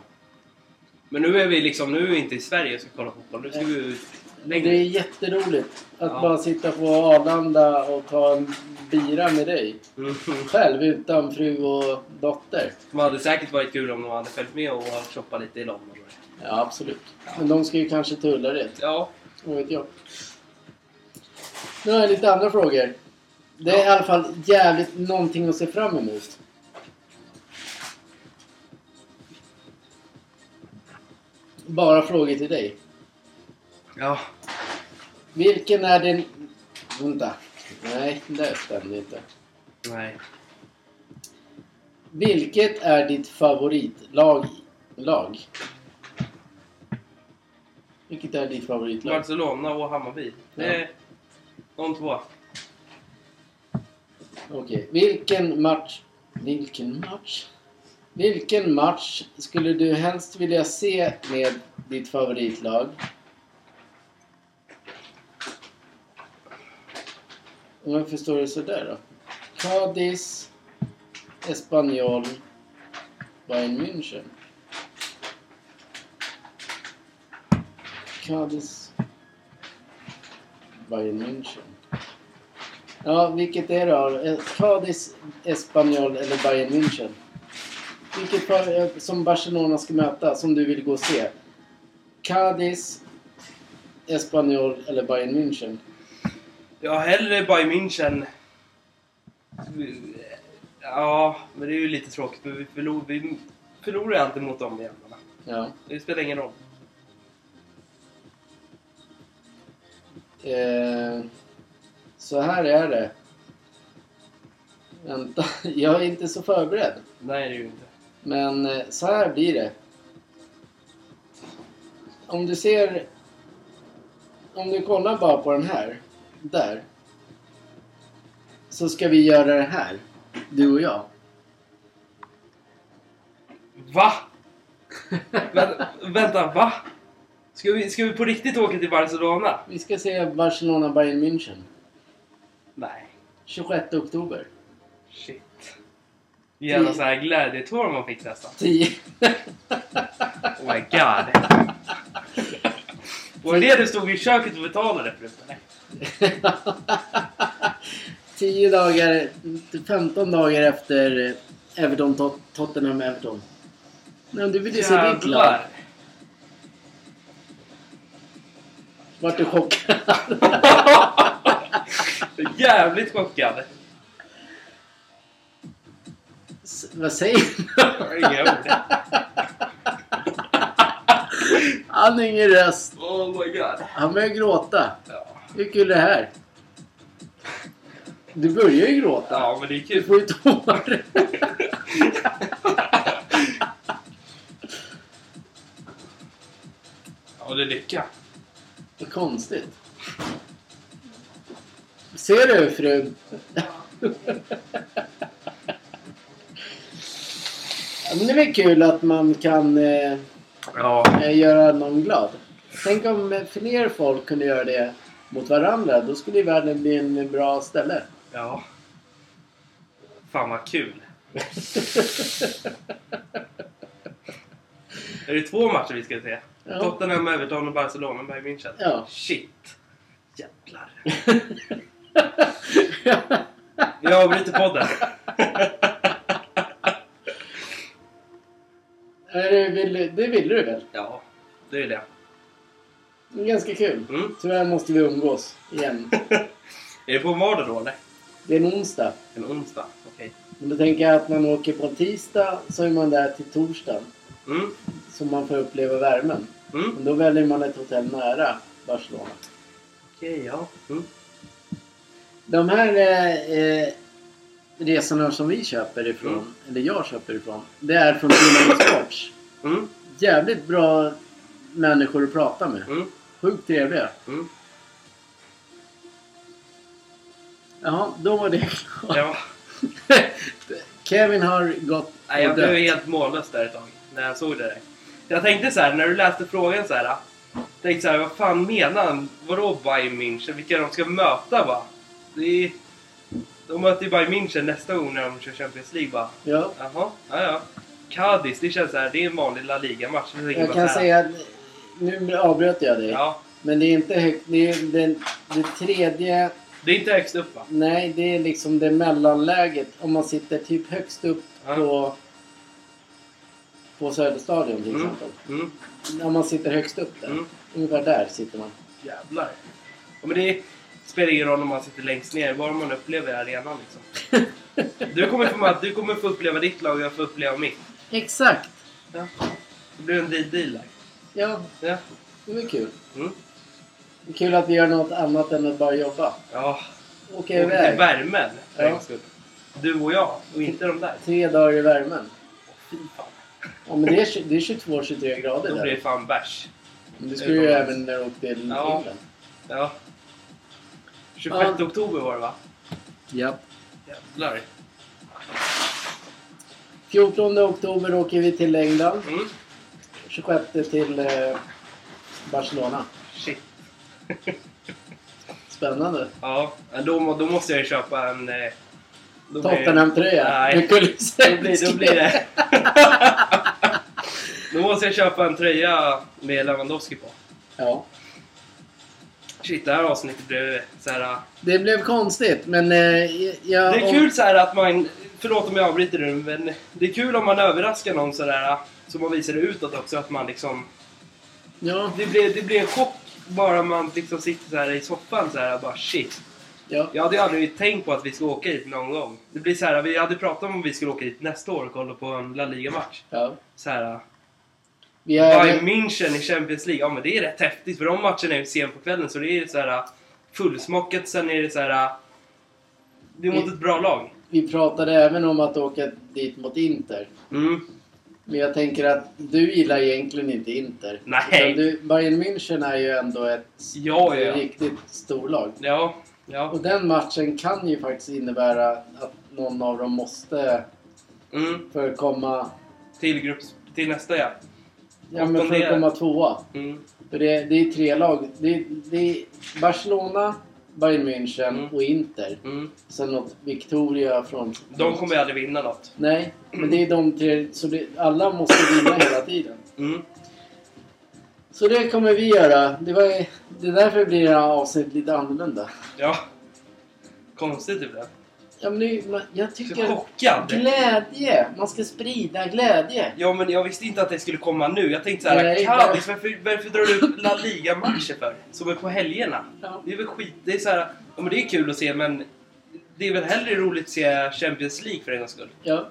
Speaker 2: Men nu är vi liksom, nu är vi inte i Sverige och ska kolla fotboll. Nu ska vi ut
Speaker 1: jag.
Speaker 2: längre.
Speaker 1: Det är jätteroligt att
Speaker 2: Ja.
Speaker 1: bara sitta på Arlanda och ta en bira med dig.
Speaker 2: Mm.
Speaker 1: Själv utan fru och dotter.
Speaker 2: De hade säkert varit kul om de hade följt med och shoppat lite i London.
Speaker 1: Ja, absolut. Men de ska ju kanske tulla det.
Speaker 2: Ja,
Speaker 1: Vad vet jag. Nu har jag lite andra frågor. Det är i alla fall jävligt någonting att se fram emot. Bara frågor till dig.
Speaker 2: Ja.
Speaker 1: Vilken är den... Vänta. Nej, det stämde inte.
Speaker 2: Nej.
Speaker 1: Vilket är ditt favoritlag? Lag? Vilket är ditt favoritlag?
Speaker 2: Barcelona och Hammarby. Det är de två.
Speaker 1: Okej, vilken match... Vilken match? Vilken match skulle du helst vilja se med ditt favoritlag? Och Varför står det sådär då? Cadiz, Espanyol, Bayern München. Cadiz, Bayern München. Ja, vilket är det då? Eh, Cadiz, Espanyol eller Bayern München? Vilket par eh, som Barcelona ska möta, som du vill gå och se? Cadiz, Espanyol eller Bayern München?
Speaker 2: Ja, hellre Bayern München. Ja, men det är ju lite tråkigt. Men vi förlorar, vi förlorar ju alltid mot de jävlarna.
Speaker 1: Ja.
Speaker 2: Det spelar ingen roll.
Speaker 1: Eh, så här är det. Vänta, jag är inte så förberedd.
Speaker 2: Nej, det är ju inte.
Speaker 1: Men eh, så här blir det. Om du ser... Om du kollar bara på den här. Där. Så ska vi göra det här. Du och jag.
Speaker 2: Va? Vä- vänta, va? Ska vi, ska vi på riktigt åka till Barcelona?
Speaker 1: Vi ska se Barcelona-Bayern München.
Speaker 2: Nej.
Speaker 1: 26 oktober.
Speaker 2: Shit. Jävla så här glädjetår man fick nästan.
Speaker 1: 10.
Speaker 2: Oh my god. Var det det du stod i köket och betalade för? eller?
Speaker 1: 10 dagar, 15 dagar efter eh, Everton, Tot- Tottenham, Everton. Nej, men du vill ju se ditt lag.
Speaker 2: Jävlar.
Speaker 1: Vart du chockad?
Speaker 2: Jävligt chockad.
Speaker 1: S- Vad säger du?
Speaker 2: Jag har inga ord.
Speaker 1: Han har ingen röst.
Speaker 2: Oh my god.
Speaker 1: Han börjar gråta.
Speaker 2: Ja.
Speaker 1: Hur kul är det här? Du börjar ju gråta.
Speaker 2: ja, men det är
Speaker 1: Du
Speaker 2: kul.
Speaker 1: får ju tårar.
Speaker 2: Ja, det är lycka.
Speaker 1: Vad konstigt. Ser du fru? Ja, men det är väl kul att man kan eh,
Speaker 2: Ja.
Speaker 1: eh, göra någon glad. Tänk om eh, fler folk kunde göra det mot varandra. Då skulle ju världen bli en bra ställe.
Speaker 2: Ja. Fan vad kul. är det två matcher vi ska se?
Speaker 1: Ja.
Speaker 2: Tottenham, Everton och Barcelona, Bayern München?
Speaker 1: Ja.
Speaker 2: Shit. Jävlar. Vi avbryter podden.
Speaker 1: Är det, vill, det vill du väl?
Speaker 2: Ja, det är det.
Speaker 1: Det är ganska kul.
Speaker 2: Mm.
Speaker 1: Tyvärr måste vi umgås igen.
Speaker 2: Är det på en vardag då eller?
Speaker 1: Det är en onsdag.
Speaker 2: En onsdag? Okej.
Speaker 1: Men då tänker jag att man åker på en tisdag så är man där till torsdagen.
Speaker 2: Mm.
Speaker 1: Så man får uppleva värmen.
Speaker 2: Mm.
Speaker 1: Men då väljer man ett hotell nära Barcelona.
Speaker 2: Okej, ja. Mm.
Speaker 1: De här eh, eh, resorna som vi köper ifrån,
Speaker 2: Mm.
Speaker 1: eller jag köper ifrån, det är från Finland Sports.
Speaker 2: Mm.
Speaker 1: Jävligt bra människor att prata med.
Speaker 2: Mm.
Speaker 1: Sjukt trevliga.
Speaker 2: Mm.
Speaker 1: Jaha, då var det klart.
Speaker 2: Ja.
Speaker 1: Kevin har gått
Speaker 2: Nej, jag
Speaker 1: och dött.
Speaker 2: blev helt mållös där ett tag när jag såg det där. Jag tänkte så här, när du läste frågan så här. Tänkte så här, vad fan menar han? Vadå Bayern München? Vilka de ska möta va? Det är, de möter ju Bayern München nästa gång när de kör Champions League va?
Speaker 1: Ja.
Speaker 2: Jaha, ja ja. Cadiz, det känns så här, det är en vanlig La Liga-match. tänker
Speaker 1: Jag
Speaker 2: bara
Speaker 1: kan
Speaker 2: så här,
Speaker 1: säga att nu avbröt jag dig.
Speaker 2: Ja,
Speaker 1: Men det är inte högt. Det är den, det tredje...
Speaker 2: det är inte högst upp va?
Speaker 1: Nej, det är liksom det mellanläget. Om man sitter typ högst upp
Speaker 2: Ja.
Speaker 1: på... På Söderstadion till
Speaker 2: Mm.
Speaker 1: exempel.
Speaker 2: Mm,
Speaker 1: Om man sitter högst upp där.
Speaker 2: mm.
Speaker 1: Ungefär där sitter man.
Speaker 2: Jävlar. Ja, men det är, spelar ingen roll om man sitter längst ner, bara man upplever arenan liksom. Du kommer, få, med- du kommer få uppleva ditt lag och jag får uppleva mitt.
Speaker 1: Exakt!
Speaker 2: Ja. Det blir en deal där.
Speaker 1: Ja,
Speaker 2: Ja.
Speaker 1: det är kul.
Speaker 2: Mm.
Speaker 1: Det är kul att vi gör något annat än att bara jobba.
Speaker 2: ja.
Speaker 1: Åka
Speaker 2: Och till
Speaker 1: iväg.
Speaker 2: värmen. för
Speaker 1: Ja.
Speaker 2: en skull. Du och jag och inte de där.
Speaker 1: Tre dagar i värmen.
Speaker 2: Fy fan.
Speaker 1: Ja, men det är, tj- det är 22-23 grader
Speaker 2: Då blir
Speaker 1: där.
Speaker 2: det fan bärs.
Speaker 1: Men det skulle ju även när du åkte till
Speaker 2: Ja.
Speaker 1: Finland.
Speaker 2: Ja. 26
Speaker 1: Ja.
Speaker 2: oktober var det va?
Speaker 1: Ja.
Speaker 2: Jävlar.
Speaker 1: 14 oktober åker vi till England.
Speaker 2: Mm.
Speaker 1: 26 till eh, Barcelona.
Speaker 2: Shit.
Speaker 1: Spännande.
Speaker 2: Ja, men då, må- då måste jag ju köpa en... eh, då blir-
Speaker 1: Tottenham-tröja.
Speaker 2: Nej.
Speaker 1: Med kulisser.
Speaker 2: Då blir, då blir det... då måste jag köpa en tröja med Lewandowski på.
Speaker 1: Ja.
Speaker 2: Shit, det här avsnittet blev så här...
Speaker 1: Det blev konstigt, men eh, jag...
Speaker 2: Det är kul så här att man... Förlåt om jag avbryter nu, men det är kul om man överraskar någon sådär så man visar det utåt också att man liksom...
Speaker 1: Ja,
Speaker 2: Det blir, det blir en chock bara man liksom sitter så här i soffan så här bara shit.
Speaker 1: ja.
Speaker 2: Jag hade ju aldrig tänkt på att vi ska åka hit någon gång. Det blir så här, vi hade pratat om att vi skulle åka hit nästa år och kolla på en La Liga-match.
Speaker 1: ja.
Speaker 2: Så här,
Speaker 1: Vi
Speaker 2: Bayern
Speaker 1: är,
Speaker 2: München i Champions League, ja men det är rätt häftigt för de matcherna är ju sen på kvällen så det är så här fullsmockat, sen är det så här det är mot ett bra lag.
Speaker 1: vi pratade även om att åka dit mot Inter.
Speaker 2: Mm.
Speaker 1: Men jag tänker att du gillar egentligen inte Inter.
Speaker 2: Nej.
Speaker 1: Utan Du, Bayern München är ju ändå ett
Speaker 2: Ja, ja.
Speaker 1: riktigt storlag.
Speaker 2: Ja, ja.
Speaker 1: Och den matchen kan ju faktiskt innebära att någon av dem måste
Speaker 2: Mm.
Speaker 1: för att komma,
Speaker 2: Till grupps... till nästa ja.
Speaker 1: ja, men för att komma tvåa.
Speaker 2: Mm.
Speaker 1: För det, det är tre lag. Det, det är Barcelona, Bayern München
Speaker 2: Mm.
Speaker 1: och Inter.
Speaker 2: Mm.
Speaker 1: Sen något Victoria från...
Speaker 2: De kommer ju aldrig vinna något.
Speaker 1: Nej, men det är de tre. Så det, alla måste vinna hela tiden.
Speaker 2: Mm.
Speaker 1: Så det kommer vi göra. Det, var, det är därför blir det här avsnittet lite annorlunda.
Speaker 2: Ja. Konstigt typ det.
Speaker 1: Ja, men det, man, jag
Speaker 2: Jag är
Speaker 1: tycker...
Speaker 2: så chockad.
Speaker 1: Glädje! Man ska sprida glädje.
Speaker 2: Ja men jag visste inte att det skulle komma nu. Jag tänkte såhär,
Speaker 1: Nej,
Speaker 2: Cadiz, varför, varför drar du upp La Liga-matcher för? Som är på helgerna.
Speaker 1: Ja.
Speaker 2: Det är väl skit, det är såhär, ja men det är kul att se men det är väl hellre roligt att se Champions League för en gångs skull.
Speaker 1: ja.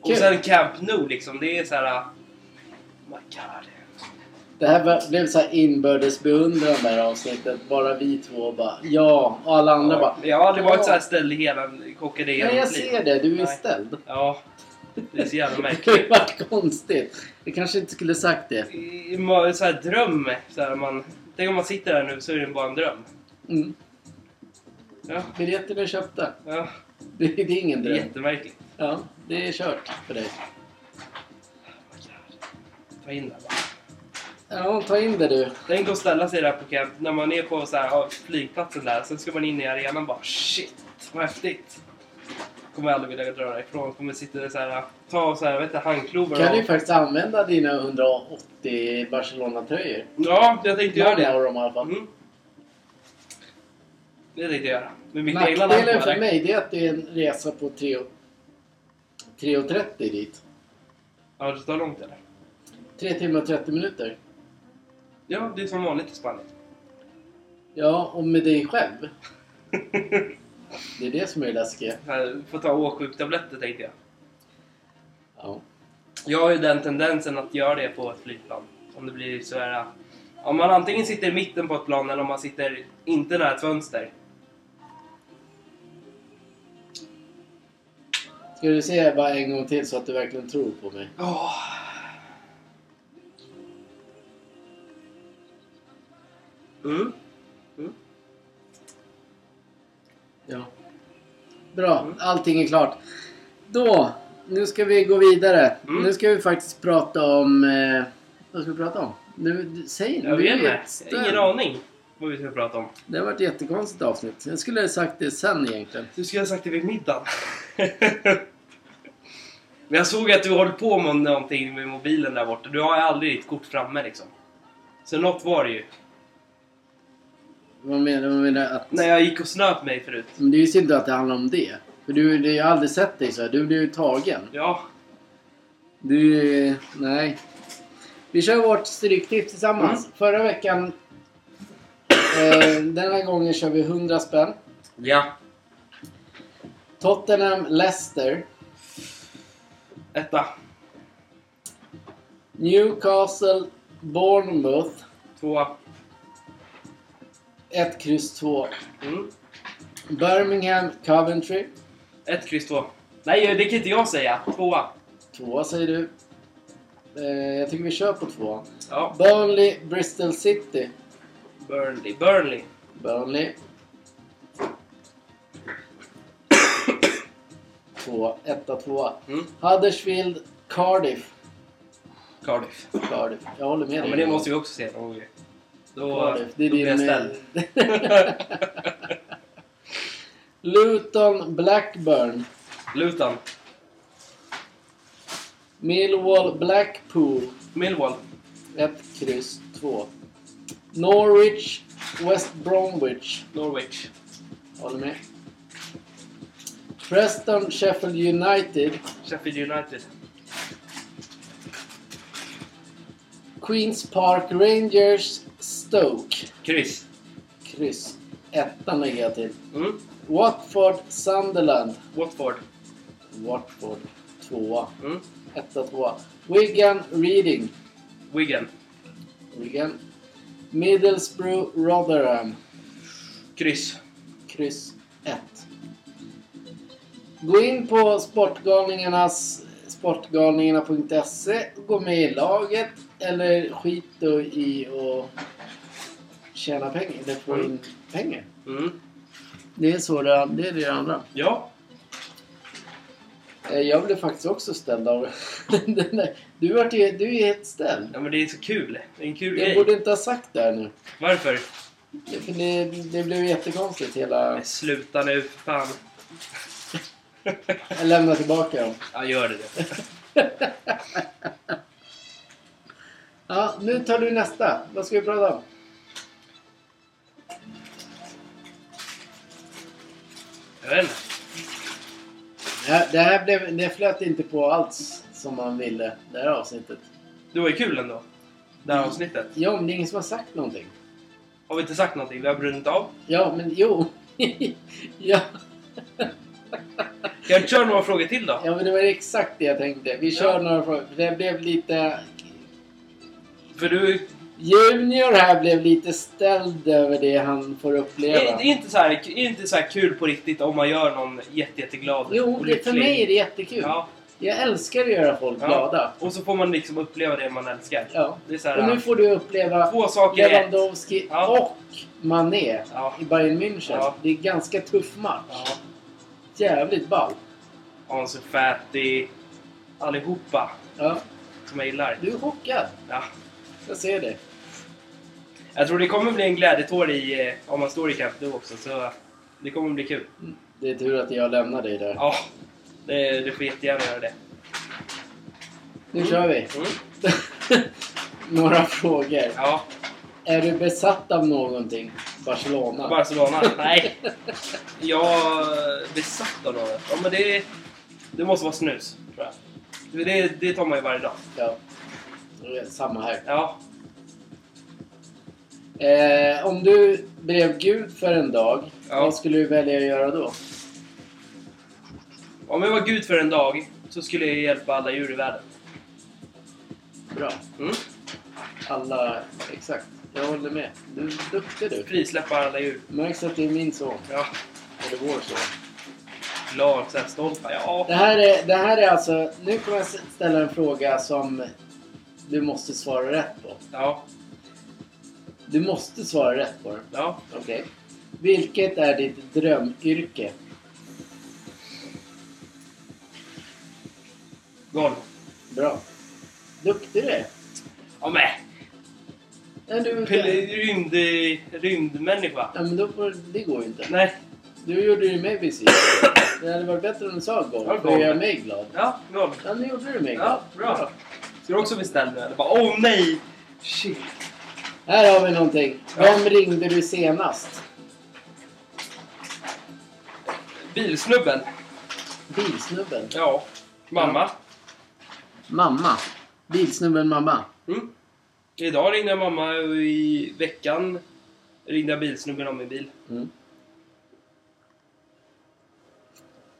Speaker 2: Och
Speaker 1: Kul.
Speaker 2: sen Camp Nou liksom, det är såhär... My God.
Speaker 1: Det här var- blev så här inbördes beundran det här avsnittet. Bara vi två bara ja och alla andra bara
Speaker 2: Jag har aldrig varit
Speaker 1: Ja.
Speaker 2: såhär ställd i hela kockade hela
Speaker 1: Nej jag
Speaker 2: mitt liv.
Speaker 1: ser det, du är
Speaker 2: Nej.
Speaker 1: ställd.
Speaker 2: Ja. Det är så jävla
Speaker 1: Det
Speaker 2: märkligt.
Speaker 1: var konstigt. Jag kanske inte skulle sagt det.
Speaker 2: I- ma- Så här dröm, så här man... Tänk om man sitter här nu så är det bara en dröm.
Speaker 1: Mm.
Speaker 2: Ja,
Speaker 1: Biljetterna är köpta.
Speaker 2: ja.
Speaker 1: Det, det är ingen
Speaker 2: Det är
Speaker 1: dröm.
Speaker 2: jättemärkligt.
Speaker 1: Ja, det är kört för dig.
Speaker 2: Ta in det här bara.
Speaker 1: Ja, ta in det du.
Speaker 2: Tänk att ställa sig där på camp, när man är på så här, ja, flygplatsen där, sen ska man in i arenan bara shit, vad häftigt. Kommer jag aldrig vilja dra därifrån, kommer sitta där så här, ta så här, vet du, handklovar
Speaker 1: kan
Speaker 2: och...
Speaker 1: ju faktiskt använda dina 180 Barcelona-tröjor.
Speaker 2: Ja, jag tänkte göra
Speaker 1: Några av
Speaker 2: det.
Speaker 1: dem i alla fall.
Speaker 2: Mm. Det tänkte jag göra. Med mitt egna namn
Speaker 1: Nackdelen
Speaker 2: på
Speaker 1: för
Speaker 2: det.
Speaker 1: mig det är att det är en resa på tre- 3.30 dit.
Speaker 2: Ja, det tar långt eller?
Speaker 1: 3 timmar och 30 minuter.
Speaker 2: Ja, det är som vanligt i Spanien.
Speaker 1: Ja, och med dig själv. Det är det som är det läskiga.
Speaker 2: Så här, Får ta åksjuktabletter tänkte jag.
Speaker 1: Ja.
Speaker 2: Jag har ju den tendensen att göra det på ett flygplan. Om det blir så här... äh, Om man antingen sitter i mitten på ett plan eller om man sitter inte nära ett fönster.
Speaker 1: Ska du se bara en gång till så att du verkligen tror på mig?
Speaker 2: Åh. Mm.
Speaker 1: Ja. Bra, allting är klart. Då, nu ska vi gå vidare.
Speaker 2: Mm.
Speaker 1: Nu ska vi faktiskt prata om... Eh, vad ska vi prata om? Nu, du- säg
Speaker 2: Jag
Speaker 1: du
Speaker 2: vet
Speaker 1: är
Speaker 2: inte.
Speaker 1: ett-
Speaker 2: Jag har Ingen aning vad vi ska prata om.
Speaker 1: Det har varit ett jättekonstigt avsnitt. Jag skulle ha sagt det sen egentligen.
Speaker 2: Du skulle ha sagt det vid middagen. Men jag såg att du håller på med någonting med mobilen där borta. Du har ju aldrig ditt kort framme liksom. Så något var det ju.
Speaker 1: Vad menar du? Menar att,
Speaker 2: När jag gick och snöp mig förut.
Speaker 1: Men det är ju synd att det handlar om det. För du, du jag har aldrig sett dig så här. Du blir ju tagen.
Speaker 2: Ja,
Speaker 1: Du... Nej. Vi kör vårt stryktips tillsammans. Förra veckan Eh, den här gången kör vi 100 spänn.
Speaker 2: Ja.
Speaker 1: Tottenham, Leicester,
Speaker 2: Etta.
Speaker 1: Newcastle, Bournemouth,
Speaker 2: Tvåa.
Speaker 1: 1, kryss 2.
Speaker 2: Mm.
Speaker 1: Birmingham, Coventry,
Speaker 2: Ett kryss två. Nej, det kan inte jag säga. Tvåa.
Speaker 1: 2 säger du. Eh, jag tycker vi kör på 2.
Speaker 2: Ja.
Speaker 1: Burnley, Bristol City,
Speaker 2: Burnley. Burnley.
Speaker 1: Burnley. 2, 1, 2.
Speaker 2: Mm.
Speaker 1: Huddersfield, Cardiff.
Speaker 2: Cardiff.
Speaker 1: Cardiff. Jag håller med
Speaker 2: Ja,
Speaker 1: dig.
Speaker 2: men det måste vi också se någon gång. Då,
Speaker 1: Cardiff. Det är
Speaker 2: då blir jag
Speaker 1: din...
Speaker 2: ställd.
Speaker 1: Luton, Blackburn.
Speaker 2: Luton.
Speaker 1: Millwall, Blackpool.
Speaker 2: Millwall.
Speaker 1: 1, kryss 2. Norwich, West Bromwich.
Speaker 2: Norwich.
Speaker 1: Håller med. Preston, Sheffield United.
Speaker 2: Sheffield United.
Speaker 1: Queens Park Rangers, Stoke.
Speaker 2: Kryss.
Speaker 1: Kryss. Ettan lägger jag till.
Speaker 2: Mm.
Speaker 1: Watford, Sunderland.
Speaker 2: Watford.
Speaker 1: Watford, tvåa.
Speaker 2: Mm.
Speaker 1: Etta, tvåa. Wigan, Reading.
Speaker 2: Wigan.
Speaker 1: Wigan. Middlesbrough, Rotherham.
Speaker 2: Kryss.
Speaker 1: Kryss 1. Gå in på Sportgalningarnas sportgalningarna.se Gå med i laget eller skit då i och tjäna pengar eller få in pengar.
Speaker 2: Mm.
Speaker 1: Det är så det, det är det andra.
Speaker 2: Ja.
Speaker 1: Eh, Jag blev faktiskt också ställd av den där. Du, vart ju, du är helt ställd.
Speaker 2: ja, men det är så kul. Det är en kul
Speaker 1: Jag
Speaker 2: grej.
Speaker 1: borde inte ha sagt det här nu.
Speaker 2: Varför?
Speaker 1: Det- För det, det blev jättekonstigt hela...
Speaker 2: Men sluta nu, för fan.
Speaker 1: Jag lämnar tillbaka dem.
Speaker 2: Ja, gör det. det.
Speaker 1: Ja, nu tar du nästa. Vad ska vi prata om?
Speaker 2: Jag vet inte.
Speaker 1: Det här, det här blev, det flöt inte på alls som man ville, det här avsnittet.
Speaker 2: Det var ju kul ändå. Det
Speaker 1: Mm.
Speaker 2: här avsnittet.
Speaker 1: Ja, men det är ingen som har sagt någonting.
Speaker 2: Har vi inte sagt någonting? Vi har brunnit av.
Speaker 1: Ja, men jo. ja,
Speaker 2: Kan jag köra några frågor till då?
Speaker 1: ja, men det var exakt det jag tänkte. Vi kör några frågor. för Det blev lite...
Speaker 2: För du...
Speaker 1: Junior här blev lite ställd över det han får
Speaker 2: Det
Speaker 1: uppleva.
Speaker 2: är inte så här, det är inte så här kul på riktigt om man gör någon jätte, jätteglad
Speaker 1: Jo,
Speaker 2: och
Speaker 1: det, för
Speaker 2: lycklig.
Speaker 1: mig är det jättekul.
Speaker 2: Ja,
Speaker 1: Jag älskar att göra folk
Speaker 2: Ja.
Speaker 1: glada.
Speaker 2: och så får man liksom uppleva det man älskar.
Speaker 1: Ja.
Speaker 2: Det är så här,
Speaker 1: Och nu får du uppleva
Speaker 2: två saker i ett.
Speaker 1: Lewandowski
Speaker 2: Ja.
Speaker 1: och Mané
Speaker 2: Ja.
Speaker 1: i Bayern München.
Speaker 2: Ja.
Speaker 1: Det är ganska tuff match.
Speaker 2: Ja.
Speaker 1: Jävligt ball.
Speaker 2: Ansu Fati. Allihopa
Speaker 1: Ja.
Speaker 2: som jag gillar.
Speaker 1: Du är chockad.
Speaker 2: Ja.
Speaker 1: Jag ser det.
Speaker 2: Jag tror det kommer bli en glädjetår i, eh, om man står i Camp Nou också, så det kommer bli kul.
Speaker 1: Mm. Det är tur att jag lämnar dig där.
Speaker 2: Ja, det, du får jättegärna göra det.
Speaker 1: Nu kör vi.
Speaker 2: Mm.
Speaker 1: Några frågor.
Speaker 2: Ja,
Speaker 1: Är du besatt av någonting? Barcelona?
Speaker 2: Barcelona? Nej. Jag är besatt av något. Ja, men det, det måste vara snus, tror jag. Det- Det, det tar man ju varje dag.
Speaker 1: ja. Det är Samma här.
Speaker 2: Ja.
Speaker 1: Eh, om du blev Gud för en dag,
Speaker 2: Ja.
Speaker 1: vad skulle du välja att göra då?
Speaker 2: Om jag var gud för en dag så skulle jag hjälpa alla djur i världen.
Speaker 1: Bra.
Speaker 2: Mm.
Speaker 1: Alla... Exakt. Jag håller med. Du är duktig du.
Speaker 2: Frisläppa alla djur.
Speaker 1: Märks att det är min son.
Speaker 2: Ja.
Speaker 1: Eller vår son.
Speaker 2: Glad, så här, stolt. Ja.
Speaker 1: Det här, är, det här är alltså... Nu kommer jag ställa en fråga som du måste svara rätt på.
Speaker 2: Ja.
Speaker 1: Du måste svara rätt på den.
Speaker 2: Ja.
Speaker 1: Okej. Vilket är ditt drömyrke?
Speaker 2: Golv.
Speaker 1: Bra. Duktig du är.
Speaker 2: Ja, men.
Speaker 1: Nej, du...
Speaker 2: Pil- Rymd, rymdmänniska.
Speaker 1: Ja, men då får, det går ju inte.
Speaker 2: Nej.
Speaker 1: Du gjorde ju mig besviken. Det hade varit bättre om du sa golf.
Speaker 2: Ja,
Speaker 1: För att göra
Speaker 2: golf.
Speaker 1: mig glad.
Speaker 2: Ja, golv.
Speaker 1: Ja, nu gjorde du mig glad.
Speaker 2: Ja, bra. Ska du också bli snäll nu eller? Bara, Åh oh, nej! Shit.
Speaker 1: Här har vi någonting. Vem ringde du senast?
Speaker 2: Bilsnubben.
Speaker 1: Bilsnubben.
Speaker 2: Ja. Mamma.
Speaker 1: Mamma. Bilsnubben mamma.
Speaker 2: Mm. Idag ringde jag mamma och i veckan Ringde bilsnubben om min bil.
Speaker 1: Mm.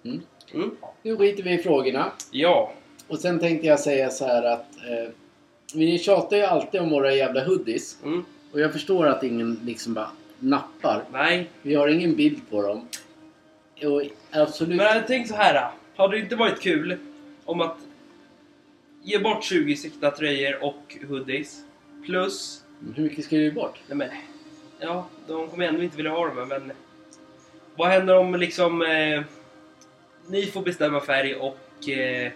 Speaker 1: Mm.
Speaker 2: Mm.
Speaker 1: Nu skiter vi i frågorna.
Speaker 2: Ja.
Speaker 1: Och sen tänkte jag säga så här att eh, vi tjatar ju alltid om våra jävla hoodies.
Speaker 2: Mm.
Speaker 1: Och jag förstår att ingen liksom bara nappar.
Speaker 2: Nej.
Speaker 1: Vi har ingen bild på dem. Och absolut...
Speaker 2: Men tänk så här. Har det inte varit kul om att ge bort 20 siktna tröjor och hoodies? Plus...
Speaker 1: Hur mycket ska vi bort?
Speaker 2: Nej men... Ja, de kommer ändå inte vilja ha dem men... Vad händer om liksom... Eh, ni får bestämma färg och... Eh,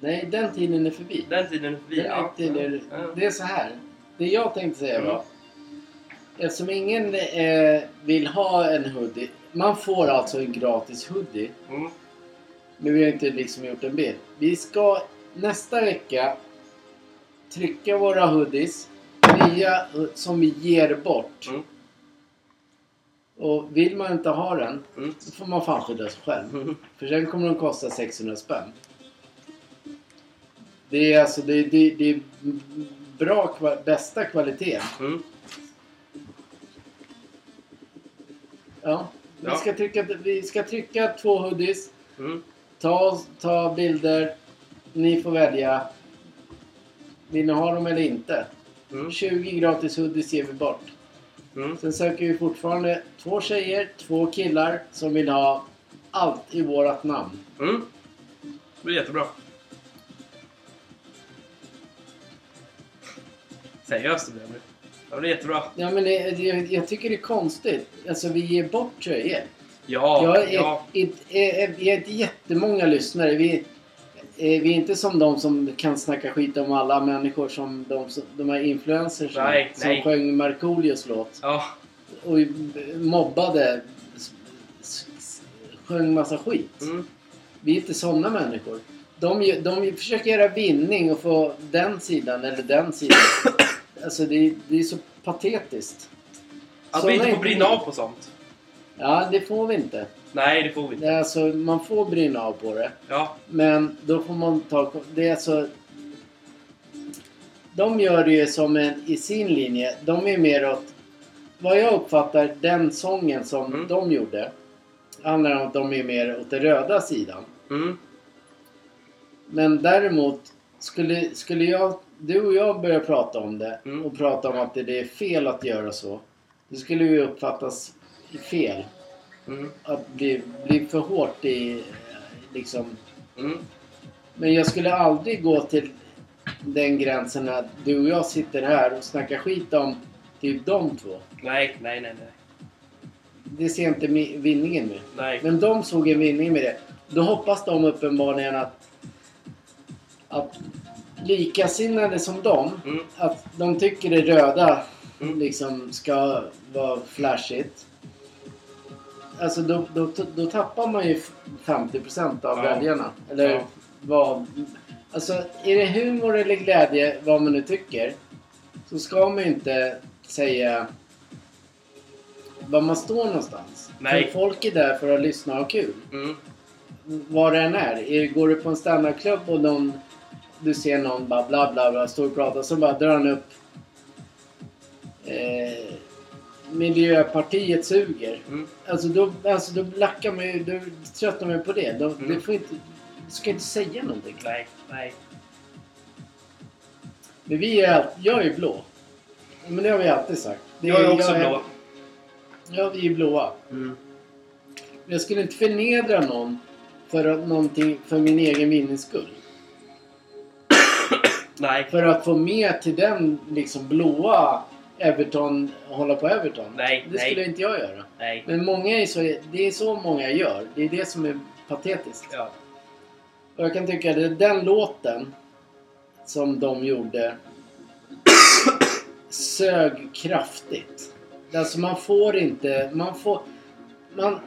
Speaker 1: Nej, den tiden är förbi.
Speaker 2: den tiden är förbi.
Speaker 1: Den är tiden,
Speaker 2: Ja, ja.
Speaker 1: Det är så här. Det jag tänkte säga
Speaker 2: Mm.
Speaker 1: var... Eftersom ingen eh, vill ha en hoodie. Man får alltså en gratis hoodie.
Speaker 2: Mm.
Speaker 1: Men vi har inte liksom gjort en bild. Vi ska nästa vecka trycka våra hoodies. Nya eh, som vi ger bort.
Speaker 2: Mm.
Speaker 1: Och vill man inte ha den
Speaker 2: Mm.
Speaker 1: så får man fan skydda sig själv.
Speaker 2: Mm.
Speaker 1: För sen kommer de kosta 600 spänn. Det är alltså det, det, det är bra, kva- bästa kvaliteten.
Speaker 2: Mm.
Speaker 1: Ja. Vi,
Speaker 2: Ja.
Speaker 1: Ska trycka, vi ska trycka två hoodies.
Speaker 2: Mm.
Speaker 1: Ta, ta bilder. Ni får välja. Vill ni ha dem eller inte?
Speaker 2: Mm.
Speaker 1: 20 gratis hoodies ger vi bort.
Speaker 2: Mm.
Speaker 1: Sen söker vi fortfarande två tjejer, två killar som vill ha allt i vårat namn.
Speaker 2: Mm. Det blir jättebra. Seriöst det blir det. Det blir jättebra.
Speaker 1: Ja, men det, det, jag tycker det är konstigt. Alltså vi ger bort tröjor.
Speaker 2: Ja,
Speaker 1: Jag är,
Speaker 2: ja.
Speaker 1: inte- är, vi är inte jättemånga lyssnare. Vi, är- eh, vi är inte som de som kan snacka skit om alla människor som de, som- de här influencers som-
Speaker 2: Nej,
Speaker 1: som
Speaker 2: nej.
Speaker 1: sjöng Markoolios låt
Speaker 2: ja.
Speaker 1: och mobbade. s- s- s- Sjöng massa skit.
Speaker 2: Mm.
Speaker 1: Vi är inte sådana människor. De, gö- de försöker göra vinning och få den sidan eller den sidan. alltså det, är- det är så patetiskt.
Speaker 2: Att
Speaker 1: Såna
Speaker 2: vi inte
Speaker 1: är
Speaker 2: får brinna
Speaker 1: vi.
Speaker 2: av på sånt.
Speaker 1: Ja, det får vi inte.
Speaker 2: Nej, det får vi inte.
Speaker 1: Det är Alltså, man får brinna av på det.
Speaker 2: Ja.
Speaker 1: Men då får man ta... Det är alltså... De gör det ju som en, i sin linje. De är mer åt... Vad jag uppfattar, den sången som
Speaker 2: Mm.
Speaker 1: de gjorde handlar om att de är mer åt den röda sidan.
Speaker 2: Mm.
Speaker 1: Men däremot, skulle, skulle jag, du och jag börja prata om det
Speaker 2: Mm.
Speaker 1: och prata om att det, det är fel att göra så. Då skulle vi uppfattas fel.
Speaker 2: Mm.
Speaker 1: Att bli, bli för hårt i... eh, Liksom,
Speaker 2: Mm.
Speaker 1: men jag skulle aldrig gå till den gränsen att du och jag sitter här och snackar skit om typ de två.
Speaker 2: Nej, nej, nej, nej.
Speaker 1: Det ser inte mi- vinningen med.
Speaker 2: Nej.
Speaker 1: Men de såg en vinning med det. Då hoppas de uppenbarligen att, att likasinnade som de,
Speaker 2: Mm.
Speaker 1: att de tycker det röda
Speaker 2: Mm.
Speaker 1: liksom ska vara flashigt. Alltså då, då, då tappar man ju 50% av
Speaker 2: Ja.
Speaker 1: väljarna. Eller
Speaker 2: Ja.
Speaker 1: vad... Alltså är det humor eller glädje, vad man nu tycker, så ska man ju inte säga var man står någonstans.
Speaker 2: Nej.
Speaker 1: För folk är där för att lyssna och ha kul.
Speaker 2: Mm.
Speaker 1: Vad det än är. Är- Går du på en standardklubb och någon, du ser någon bara bla bla bla, står och pratar, så bara drar han upp eh, Miljöpartiet suger.
Speaker 2: Mm.
Speaker 1: Alltså då, alltså då lackar man ju, då tröttnar man ju på det. Då,
Speaker 2: Mm.
Speaker 1: det får inte, du ska inte säga någonting.
Speaker 2: Nej, nej.
Speaker 1: Men vi är, allt- jag är blå. Men det har vi alltid sagt. Det
Speaker 2: Jag är också
Speaker 1: jag
Speaker 2: blå.
Speaker 1: Ja, vi är blåa.
Speaker 2: Mm.
Speaker 1: Men jag skulle inte förnedra någon för, att, någonting, för min egen vinnings skull.
Speaker 2: Nej.
Speaker 1: För att få med till den liksom blåa Everton, hålla på Everton.
Speaker 2: Nej,
Speaker 1: det
Speaker 2: nej.
Speaker 1: skulle inte jag göra.
Speaker 2: Nej.
Speaker 1: Men många är så, det är så många gör. Det är det som är patetiskt.
Speaker 2: Ja.
Speaker 1: Och jag kan tycka att den låten som de gjorde sög kraftigt. Alltså man får inte, man får... Man,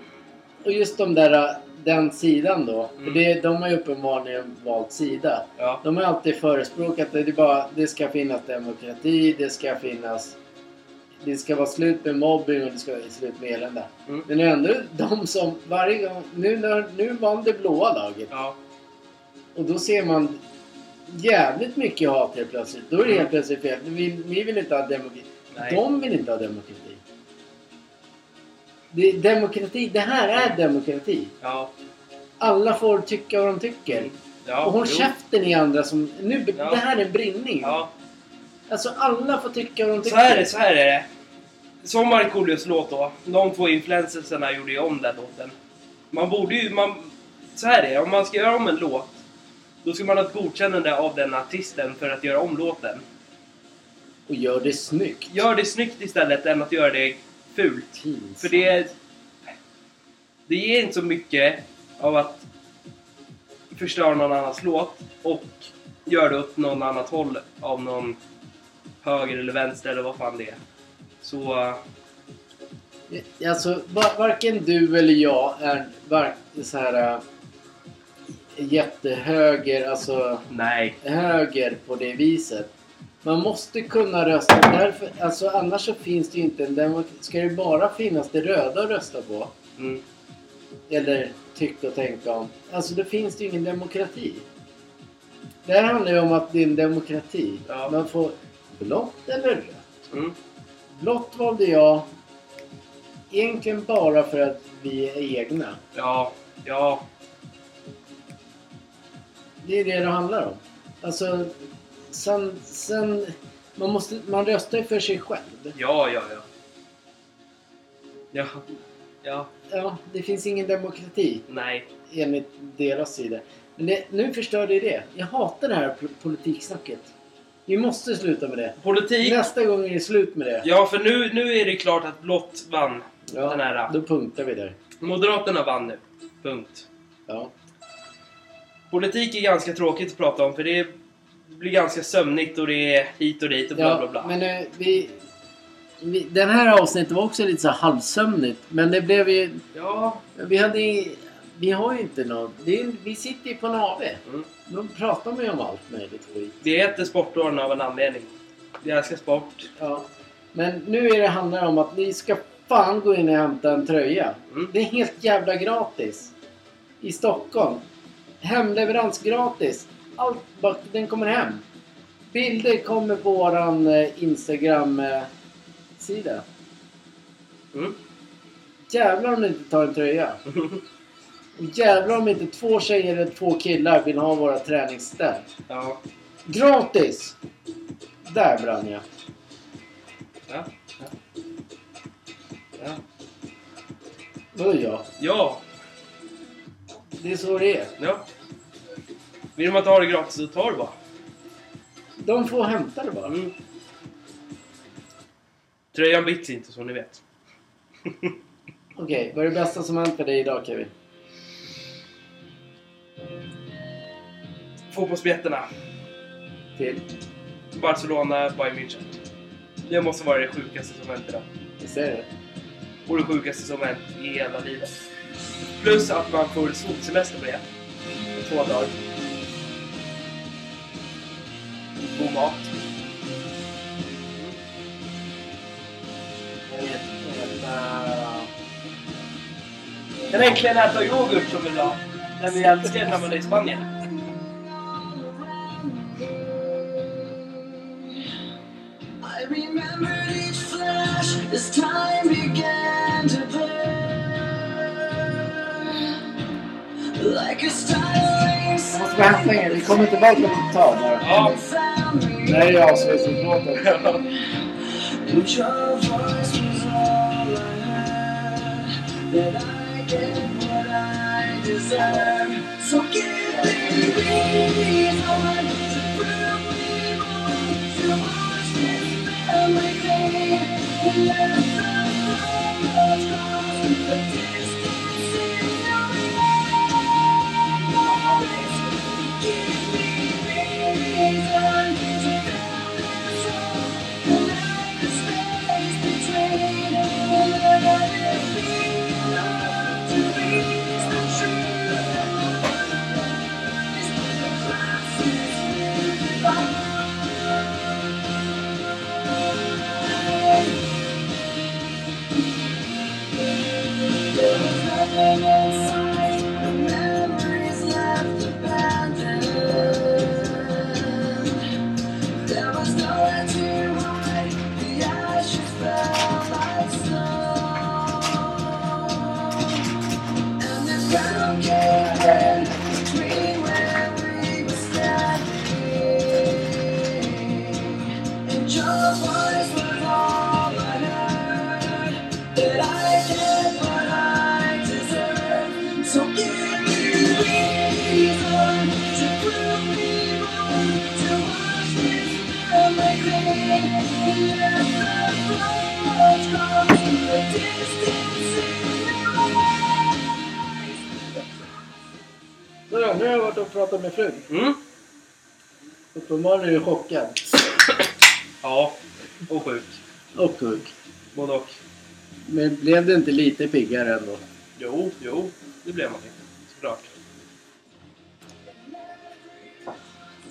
Speaker 1: och just de där, den sidan då. För
Speaker 2: Mm.
Speaker 1: det, de har ju uppenbarligen valt sida.
Speaker 2: Ja.
Speaker 1: De har alltid förespråkat det. Det, är bara, det ska finnas demokrati, det ska finnas... Det ska vara slut med mobbing och det ska vara slut med elände.
Speaker 2: Mm.
Speaker 1: Men det är ändå de som varje gång... Nu, när, nu vann det blåa laget.
Speaker 2: Ja.
Speaker 1: Och då ser man jävligt mycket hat helt plötsligt. Då är det helt plötsligt fel. Vi, vi vill inte ha demokrati.
Speaker 2: Mm. Nej.
Speaker 1: De vill inte ha demokrati. Det, är demokrati. det här är
Speaker 2: Mm.
Speaker 1: demokrati.
Speaker 2: Ja.
Speaker 1: Alla får tycka vad de tycker.
Speaker 2: Mm. ja.
Speaker 1: och håll
Speaker 2: jo.
Speaker 1: käften i andra som... Nu,
Speaker 2: Ja.
Speaker 1: Det här är en brinning.
Speaker 2: Ja.
Speaker 1: Alltså alla får tycka vad de tycker.
Speaker 2: Så här är det, så här är det. Som Markoolios låt då, de två influencersarna gjorde ju om den låten. Man borde ju, man... Så här är det, om man ska göra om en låt, då ska man ha ett godkännande av den artisten för att göra om låten.
Speaker 1: Och gör det snyggt.
Speaker 2: Gör det snyggt istället än att göra det fult.
Speaker 1: Pinsamt.
Speaker 2: För det... Det ger inte så mycket av att förstöra någon annans låt och göra det åt någon annat håll av någon höger eller vänster eller vad fan det är. Så...
Speaker 1: Alltså, va- varken du eller jag är var- så här äh, jättehöger, alltså
Speaker 2: Nej.
Speaker 1: höger på det viset. Man måste kunna rösta. Därför, alltså, annars så finns det ju inte en demokrati. Ska det bara finnas det röda att rösta på?
Speaker 2: Mm.
Speaker 1: Eller tycka och tänka om. Alltså då finns det ju ingen demokrati. Det här handlar ju om att det är en demokrati.
Speaker 2: Ja.
Speaker 1: Man får blått eller rött.
Speaker 2: Mm.
Speaker 1: Blått valde jag egentligen bara för att vi är egna.
Speaker 2: Ja. Ja.
Speaker 1: Det är det det handlar om. Alltså, sen... sen man, måste, man röstar ju för sig själv.
Speaker 2: Ja, ja, ja. Ja. Ja.
Speaker 1: Ja, det finns ingen demokrati
Speaker 2: Nej.
Speaker 1: enligt deras sida. Men det, nu förstörde ju det. Jag hatar det här pol- politiksnacket. Vi måste sluta med det.
Speaker 2: Politik.
Speaker 1: Nästa gång är det slut med det.
Speaker 2: Ja, för nu, nu är det klart att blått vann.
Speaker 1: Ja,
Speaker 2: Den här.
Speaker 1: Då punktar vi där.
Speaker 2: Moderaterna vann nu. Punkt.
Speaker 1: Ja.
Speaker 2: Politik är ganska tråkigt att prata om för det blir ganska sömnigt och det är hit och dit och bla bla bla.
Speaker 1: Ja, men eh, vi, vi... Den här avsnittet var också lite så här halvsömnigt. Men det blev ju...
Speaker 2: Ja.
Speaker 1: Vi hade ju- Vi har ju inte någon... Det är, vi sitter ju på en AV.
Speaker 2: Mm.
Speaker 1: De pratar man ju om allt möjligt skit.
Speaker 2: Det heter Sportåren av en anledning. Vi älskar sport.
Speaker 1: Ja. Men nu är det handlar om att ni ska fan gå in och hämta en tröja.
Speaker 2: Mm.
Speaker 1: Det är helt jävla gratis. I Stockholm. Hemleverans gratis. Allt bara, den kommer hem. Bilder kommer på våran eh, Instagram-sida.
Speaker 2: Mm.
Speaker 1: Jävlar om ni inte tar en tröja. Och jävlar om inte två tjejer eller två killar vill ha våra träningsställ.
Speaker 2: Ja.
Speaker 1: Gratis! Där brann jag.
Speaker 2: Ja. Ja. Ja.
Speaker 1: Vadå jag?
Speaker 2: ja.
Speaker 1: Det är så det är.
Speaker 2: ja. Vill man inte ha det gratis så tar det bara.
Speaker 1: De får hämta det bara.
Speaker 2: Mm. Tröjan bits inte som ni vet.
Speaker 1: Okej, vad är det bästa som hänt för dig idag Kevin?
Speaker 2: Fotbollsbiljetterna.
Speaker 1: Till?
Speaker 2: Barcelona, Bayern München. Det måste vara det sjukaste som hänt idag.
Speaker 1: Jag säger det.
Speaker 2: Och det sjukaste som hänt i hela livet. Plus att man får solsemester på det. Två dagar. God mat.
Speaker 1: Jag vet inte. Äh,
Speaker 2: Jag kan äntligen äta yoghurt som vi la. Den vi älskade när man var i Spanien.
Speaker 4: I remembered each flash as time began to burn. Like a startling
Speaker 1: Jag måste bara hämta er. Vi kommer tillbaka om ett tag. här. Det
Speaker 2: Ja.
Speaker 4: found me.
Speaker 1: här är avslutningslåten.
Speaker 4: And your voice was all I heard. That I get what I deserve. So give me reason to prove me wrong. To watch this memory fade. And let the world cross the distance in Give me reason to feel this all. Thank you. on your head. We where we were standing, and your voice was all I heard. That I get what I deserve. So give me a reason to prove me wrong, to watch this everything. Let the clouds cross the distance in your
Speaker 1: Sådär, nu har jag varit och pratat med frun.
Speaker 2: Mm.
Speaker 1: Uppenbarligen är du chockad.
Speaker 2: Ja, och sjuk.
Speaker 1: Och kuk.
Speaker 2: Både och.
Speaker 1: Men blev du inte lite piggare ändå?
Speaker 2: Jo, jo, det blev man ju. Såklart.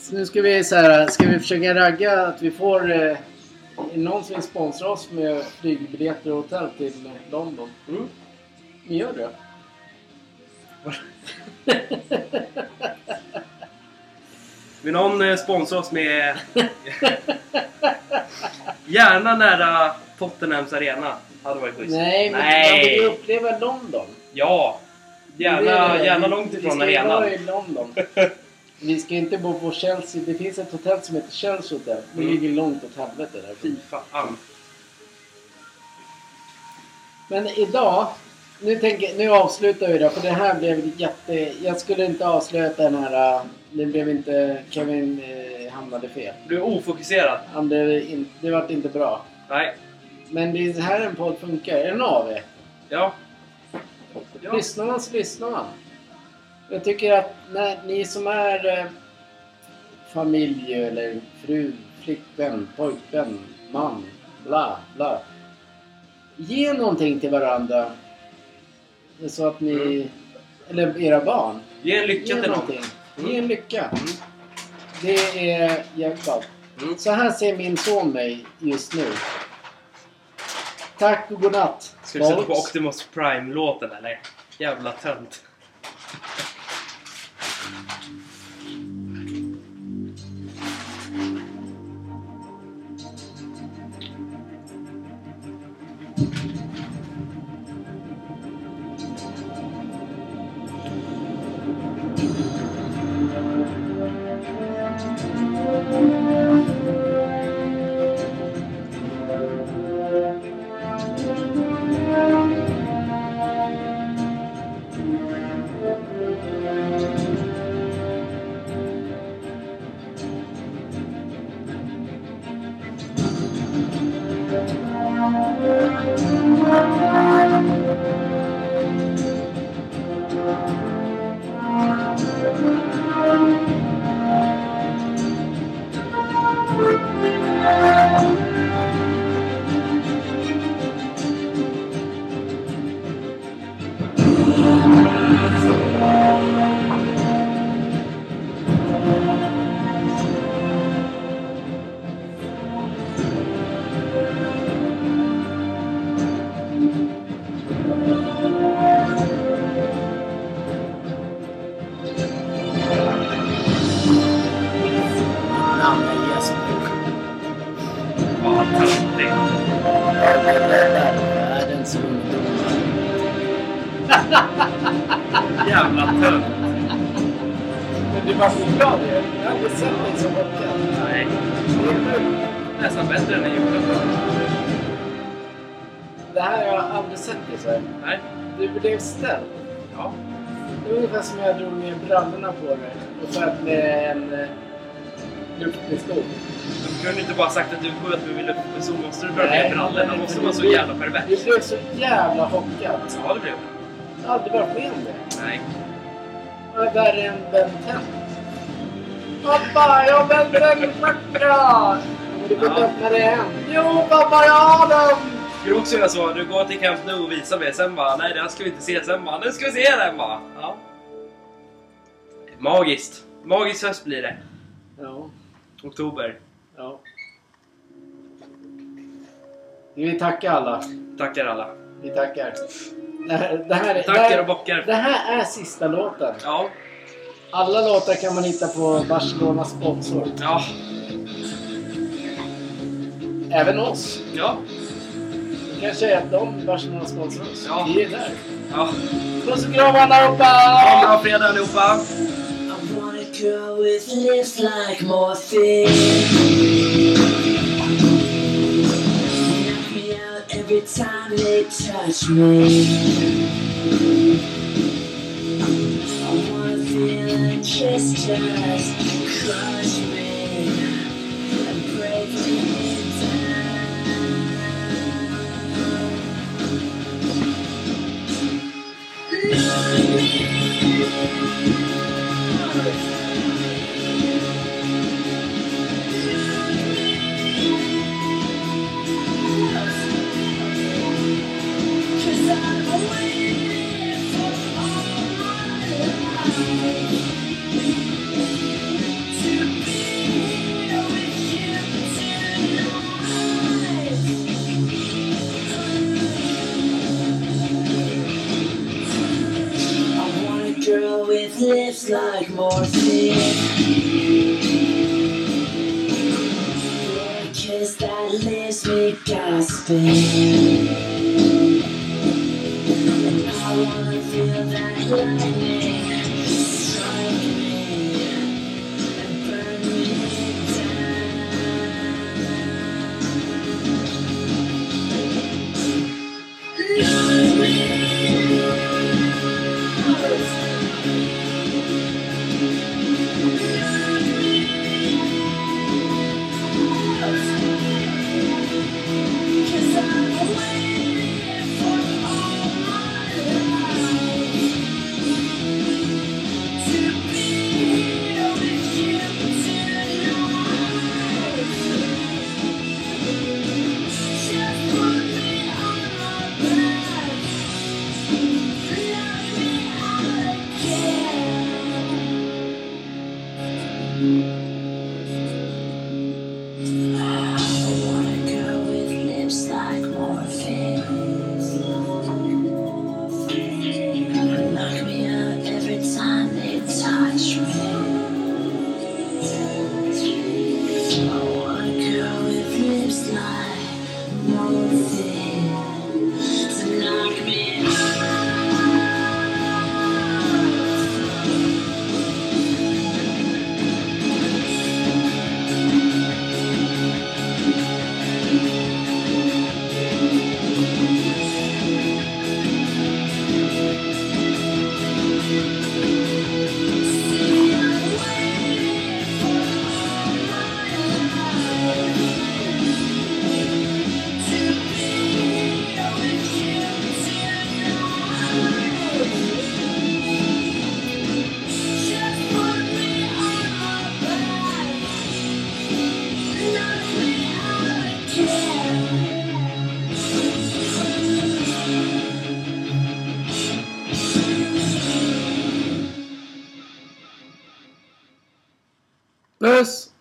Speaker 1: Så nu ska vi, så här, ska vi försöka ragga att vi får eh, någon som vill sponsra oss med flygbiljetter och hotell till London.
Speaker 2: Mm.
Speaker 1: Vi gör det.
Speaker 2: Vill någon eh, sponsra oss med... Gärna nära Tottenhams arena. Hade varit schysst.
Speaker 1: Nej, men man vill ju
Speaker 2: Nej.
Speaker 1: uppleva London.
Speaker 2: Ja. Gärna,
Speaker 1: Det-
Speaker 2: gärna långt ifrån arenan.
Speaker 1: Vi ska ju vara i London. Vi ska inte bo på Chelsea. Det finns ett hotell som heter Chelsea Hotel. Det
Speaker 2: Mm.
Speaker 1: ligger långt åt helvete där.
Speaker 2: Fy fan.
Speaker 1: Men idag, nu, tänker, nu avslutar vi det för det här blev jätte... Jag skulle inte avslöja den här... äh, Det blev inte... Kevin eh, hamnade fel.
Speaker 2: Du är ofokuserad.
Speaker 1: Han blev in, det vart inte bra.
Speaker 2: Nej.
Speaker 1: Men det är så här en podd funkar. Är den av er?
Speaker 2: Ja. ja.
Speaker 1: Lyssnar man så lyssnar man. Jag tycker att när, ni som är eh, familj eller fru, flickvän, pojkvän, man, bla, bla. Ge någonting till varandra. Så att ni,
Speaker 2: Mm.
Speaker 1: eller era barn.
Speaker 2: Ge en
Speaker 1: Ge
Speaker 2: lycka till någon.
Speaker 1: någonting.
Speaker 2: Mm.
Speaker 1: Ge en lycka. Det är jävligt bra.
Speaker 2: Mm.
Speaker 1: Så här ser min son mig just nu. Tack och godnatt.
Speaker 2: Ska vi sätta på
Speaker 1: folks.
Speaker 2: Optimus Prime-låten eller? Jävla tönt. Fan, töntigt.
Speaker 1: Världens ungdomar.
Speaker 2: Jävla tönt.
Speaker 1: Men du var så glad ju. Jag har aldrig sett dig så chockad.
Speaker 2: Nej. Nästan bättre än en julklapp.
Speaker 1: Det här har jag aldrig sett dig så här.
Speaker 2: Nej.
Speaker 1: Du blev ställd.
Speaker 2: Ja.
Speaker 1: Det var ungefär som jag drog ner brallorna på dig och sköt med en eh, luftpistol.
Speaker 2: Du kunde inte bara sagt att du sköt med min luftpistol. Måste du dra
Speaker 1: Nej,
Speaker 2: ner brallorna?
Speaker 1: men-
Speaker 2: Måste vara så jävla pervers?
Speaker 1: Du blev så jävla chockad.
Speaker 2: Ja, det blev det.
Speaker 1: Jag har aldrig varit med om det.
Speaker 2: Nej.
Speaker 1: Jag är värre än Ben 10. Pappa, jag har Ben 10-klocka! Du får inte
Speaker 2: Ja.
Speaker 1: öppna det än. Jo, pappa, jag har den!
Speaker 2: Skulle också göra så. Du går till Camp Nou och visar mig. Sen bara, nej det här ska vi inte se. Sen bara, nu ska vi se den bara. Ja. Magiskt. Magisk höst blir det.
Speaker 1: Ja,
Speaker 2: Oktober.
Speaker 1: ja. Vi tackar alla.
Speaker 2: Tackar alla.
Speaker 1: Vi tackar. Det här, det här, det
Speaker 2: Tackar
Speaker 1: här,
Speaker 2: och bockar.
Speaker 1: det här är sista låten.
Speaker 2: Ja.
Speaker 1: Alla låtar kan man hitta på Barcelona sponsor.
Speaker 2: Ja.
Speaker 1: Även oss.
Speaker 2: Ja.
Speaker 1: Kanske är de varsin har sponsrat oss.
Speaker 2: Ja.
Speaker 1: Vi är där.
Speaker 2: Ja.
Speaker 1: Puss och kram allihopa!
Speaker 2: Ha en bra fredag allihopa!
Speaker 4: I wanna grow with lips like morphine. Knock me out every time they touch me. I wanna feel like kiss just crush me and break me down. Love me. Cause I'm waiting for all my life. To be here with you tonight. I want a girl with lips like morphine. For a kiss that leaves me gasping. And I wanna feel that lightning strike me. And burn Cause I'm waiting for all my life to be here with you tonight. Just put me on my back, love me out again. I wanna go with lips like morphine. Knock me out every time they touch me. I wanna go with lips like morphine to knock me out. See, I'm waiting for all my life. To be here with you tonight. Just put me on my back, knock me out again.
Speaker 1: Puss!